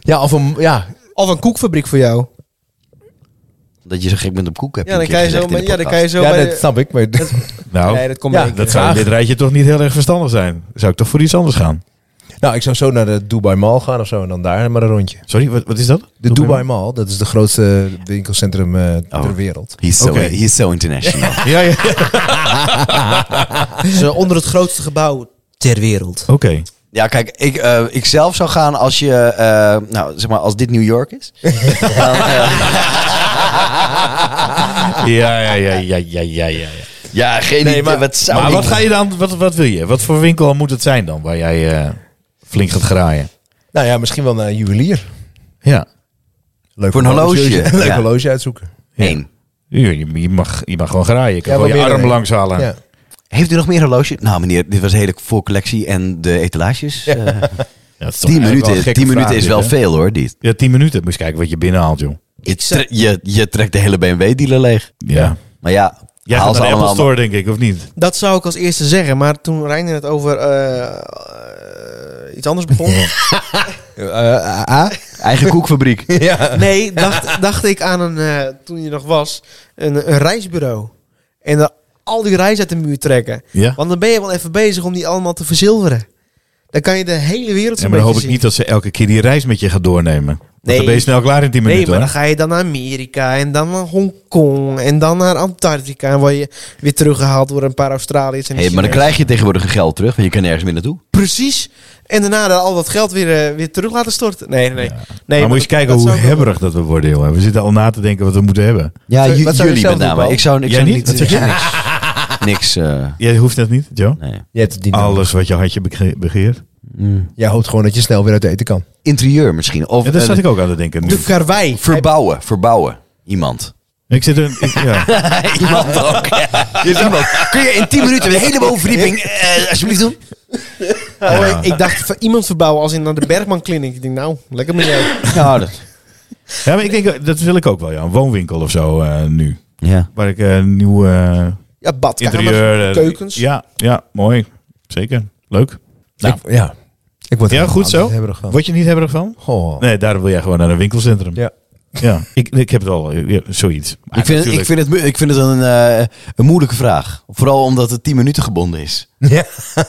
ja, of een... Ja,
Of een koekfabriek voor jou.
Dat je zo gek bent op koek, heb
Ja, dan kan je zo... met- Ja, dan kan je zo
ja
bij
dat
de...
snap ik. Maar
Nou,
Nee, dat komt
Ja,
niet.
dat zou in dit rijtje toch niet heel erg verstandig zijn. Zou ik toch voor iets anders gaan?
nou, ik zou zo naar de Dubai Mall gaan of zo. En dan daar maar een rondje.
Sorry, wat, wat is dat?
De Dubai Mall, dat is de grootste winkelcentrum eh, ter wereld.
He's so,
Oké.
he's so international.
Ja, ja. Oké.
Het is, eh, onder het grootste gebouw ter wereld.
ja, kijk, ik, eh, ik zelf zou gaan als je... eh, nou, zeg maar, als dit New York is. dan, eh,
Ja, ja, ja, ja, ja, ja, ja.
ja, geen idee.
maar
wat zou
maar
ik-
wat ga je dan, wat, wat wil je? Wat voor winkel moet het zijn dan, waar jij eh, flink gaat graaien?
Nou ja, misschien wel naar een juwelier.
Ja.
Leuk
Voor een
Oh,
horloge.
Leuk
Ja.
horloge uitzoeken.
Eén.
Je, je mag, je mag gewoon graaien. Je kan
Ja,
gewoon je
probeer
arm
er.
langs halen.
Ja.
Heeft u nog meer horloge? Nou, meneer, dit was een hele voor collectie en de etalages. eh,
Ja, dat is toch
tien
eigenlijk wel een
minuten,
gekke
tien minuten
vraag
is
dit,
wel
hè?
veel, hoor, dit.
Ja, 10 minuten. Moet je eens kijken wat je binnenhaalt, joh.
Je, tre- je, je trekt de hele BMW-dealer leeg.
Ja.
Maar ja,
Jij
haal
gaat
ze
naar de Apple
allemaal...
Store, denk ik, of niet?
Dat zou ik als eerste zeggen, maar toen Reiner het over eh, eh, iets anders begon.
Eh, Eigen koekfabriek.
Nee, dacht, dacht ik aan een, eh, toen je nog was, een, een reisbureau. En er al die reis uit de muur trekken.
Ja.
Want dan ben je wel even bezig om die allemaal te verzilveren. Dan kan je de hele wereld
Ja,
zo'n
maar dan hoop
beetje
ik niet dat ze elke keer die reis met je gaat doornemen. Want dan
Nee.
ben je snel klaar in 10
zien. Nee,
minuten,
maar dan
hoor.
ga je dan naar Amerika en dan naar Hongkong en dan naar Antarctica. En word je weer teruggehaald door een paar Australiërs. En
Hey, maar dan
Chinezen.
krijg je tegenwoordig geld terug, want je kan nergens meer naartoe.
Precies. En daarna dan al dat geld weer, eh, weer terug laten storten. Nee, nee, nee. nee
maar moet
dat-
je eens kijken
dat
hoe
zou ik wel-
hebberig dat we worden, jongen. We zitten al na te denken wat we moeten hebben.
Ja,
Wat
ju-
zou je
jullie
zelf
met
doen,
name.
Paul?
Ik zou, Oh, ik
Jij
zou
niet?
niet...
Wat
ik
zeg
zou niks. Niks, eh,
Jij hoeft dat niet, Joe?
nee.
Je hebt het niet nodig.
Alles wat je hartje bege- begeert.
Jij hoopt gewoon dat je snel weer uit eten kan.
Interieur misschien. Of
Ja, daar
eh,
zat ik ook aan te denken. nu.
De karwei.
verbouwen. Verbouwen. Iemand.
Ik zit een... ik- ja.
Iemand ook. Iemand. Kun je in 10 minuten een hele bovenverdieping eh, alsjeblieft doen?
Oh, ik, ik dacht van iemand verbouwen als in naar de Bergman Clinic. Ik denk, nou, lekker met jou.
Ja, dat...
ja, maar ik denk, eh, dat wil ik ook wel, ja. Een woonwinkel of zo eh, nu.
Ja.
Waar ik eh, een nieuw eh,
Ja, badkamers,
interieur... eh,
keukens.
Ja, ja, mooi. Zeker. Leuk. Nou.
Ik, ja. Ik word er
Ja, goed
altijd
zo.
hebberig van.
Word je niet hebberig van?
Goh.
Nee, daar wil jij gewoon naar een winkelcentrum.
Ja.
Ja, ik, ik heb het al, eh, ja, zoiets. Maar
Ik vind, het, ik,
natuurlijk-
vind het, mo- ik vind het een, eh, een moeilijke vraag. Vooral omdat het 10 minuten gebonden is.
Ja.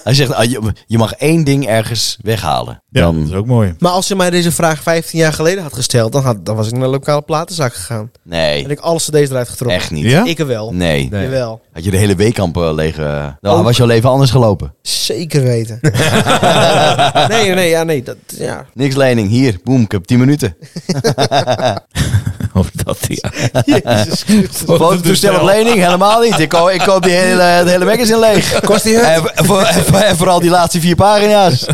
Hij zegt, ah, je, je mag één ding ergens weghalen.
ja,
Dan,
dat is ook mooi.
Maar als je mij deze vraag 15 jaar geleden had gesteld, dan, had, dan was ik naar de lokale platenzaak gegaan. En
nee,
ik alles cd's eruit getrokken.
echt niet.
Ja?
Ik er wel.
Nee.
Nee.
Jawel.
Had je de hele weekkamp eh, leeg... eh,
Nou,
dan
Ook.
was jouw leven anders gelopen.
Zeker weten. nee, nee, ja, nee. Dat, ja.
Niks lening, hier, boem, ik heb 10 minuten.
Of dat, ja.
Jezus Christus.
Fototoestel op lening, helemaal niet. Ik koop, ik koop die hele, het hele magazine leeg. Kost die en, voor, en, voor- en vooral die laatste vier pagina's.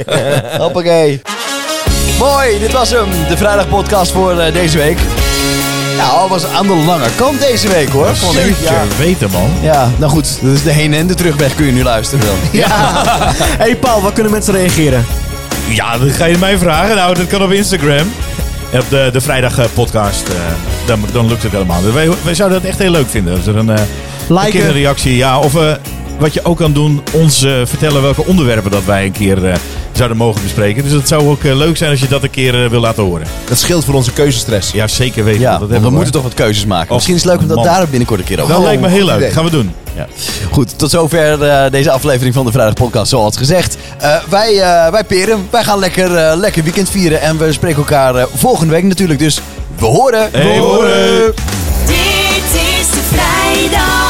Hoppakee. Mooi, dit was hem. De vrijdagpodcast voor eh, deze week. Nou, was aan de lange kant deze week hoor. Vond ik. Ja.
weten, man.
ja, nou goed. Dat is de heen en de terugweg kun je nu luisteren dan.
hey Paul, waar kunnen mensen reageren?
Ja, dat ga je mij vragen. Nou, dat kan op Instagram. En op de, de vrijdag eh, podcast. eh, dan, dan lukt het helemaal. Wij, wij zouden dat echt heel leuk vinden. Als er een, eh, een
Liken.
kinderreactie. Ja, of eh, wat je ook kan doen. Ons eh, vertellen welke onderwerpen dat wij een keer eh, zouden mogen bespreken. Dus het zou ook eh, leuk zijn als je dat een keer eh, wil laten horen.
Dat scheelt voor onze keuzestress.
Ja, zeker weten.
Ja,
dat
want
hebben
we
hoor.
moeten toch wat keuzes maken.
Och,
Misschien is het leuk om dat
man.
daar binnenkort een keer over
Dat lijkt me heel leuk.
idee.
Gaan we doen. Ja.
Goed, tot zover eh, deze aflevering van de Vrijdag Podcast, zoals gezegd. Eh, wij, eh, wij peren, wij gaan lekker, eh, lekker weekend vieren en we spreken elkaar eh, volgende week natuurlijk. Dus we horen!
Hey, we horen.
Dit is de vrijdag.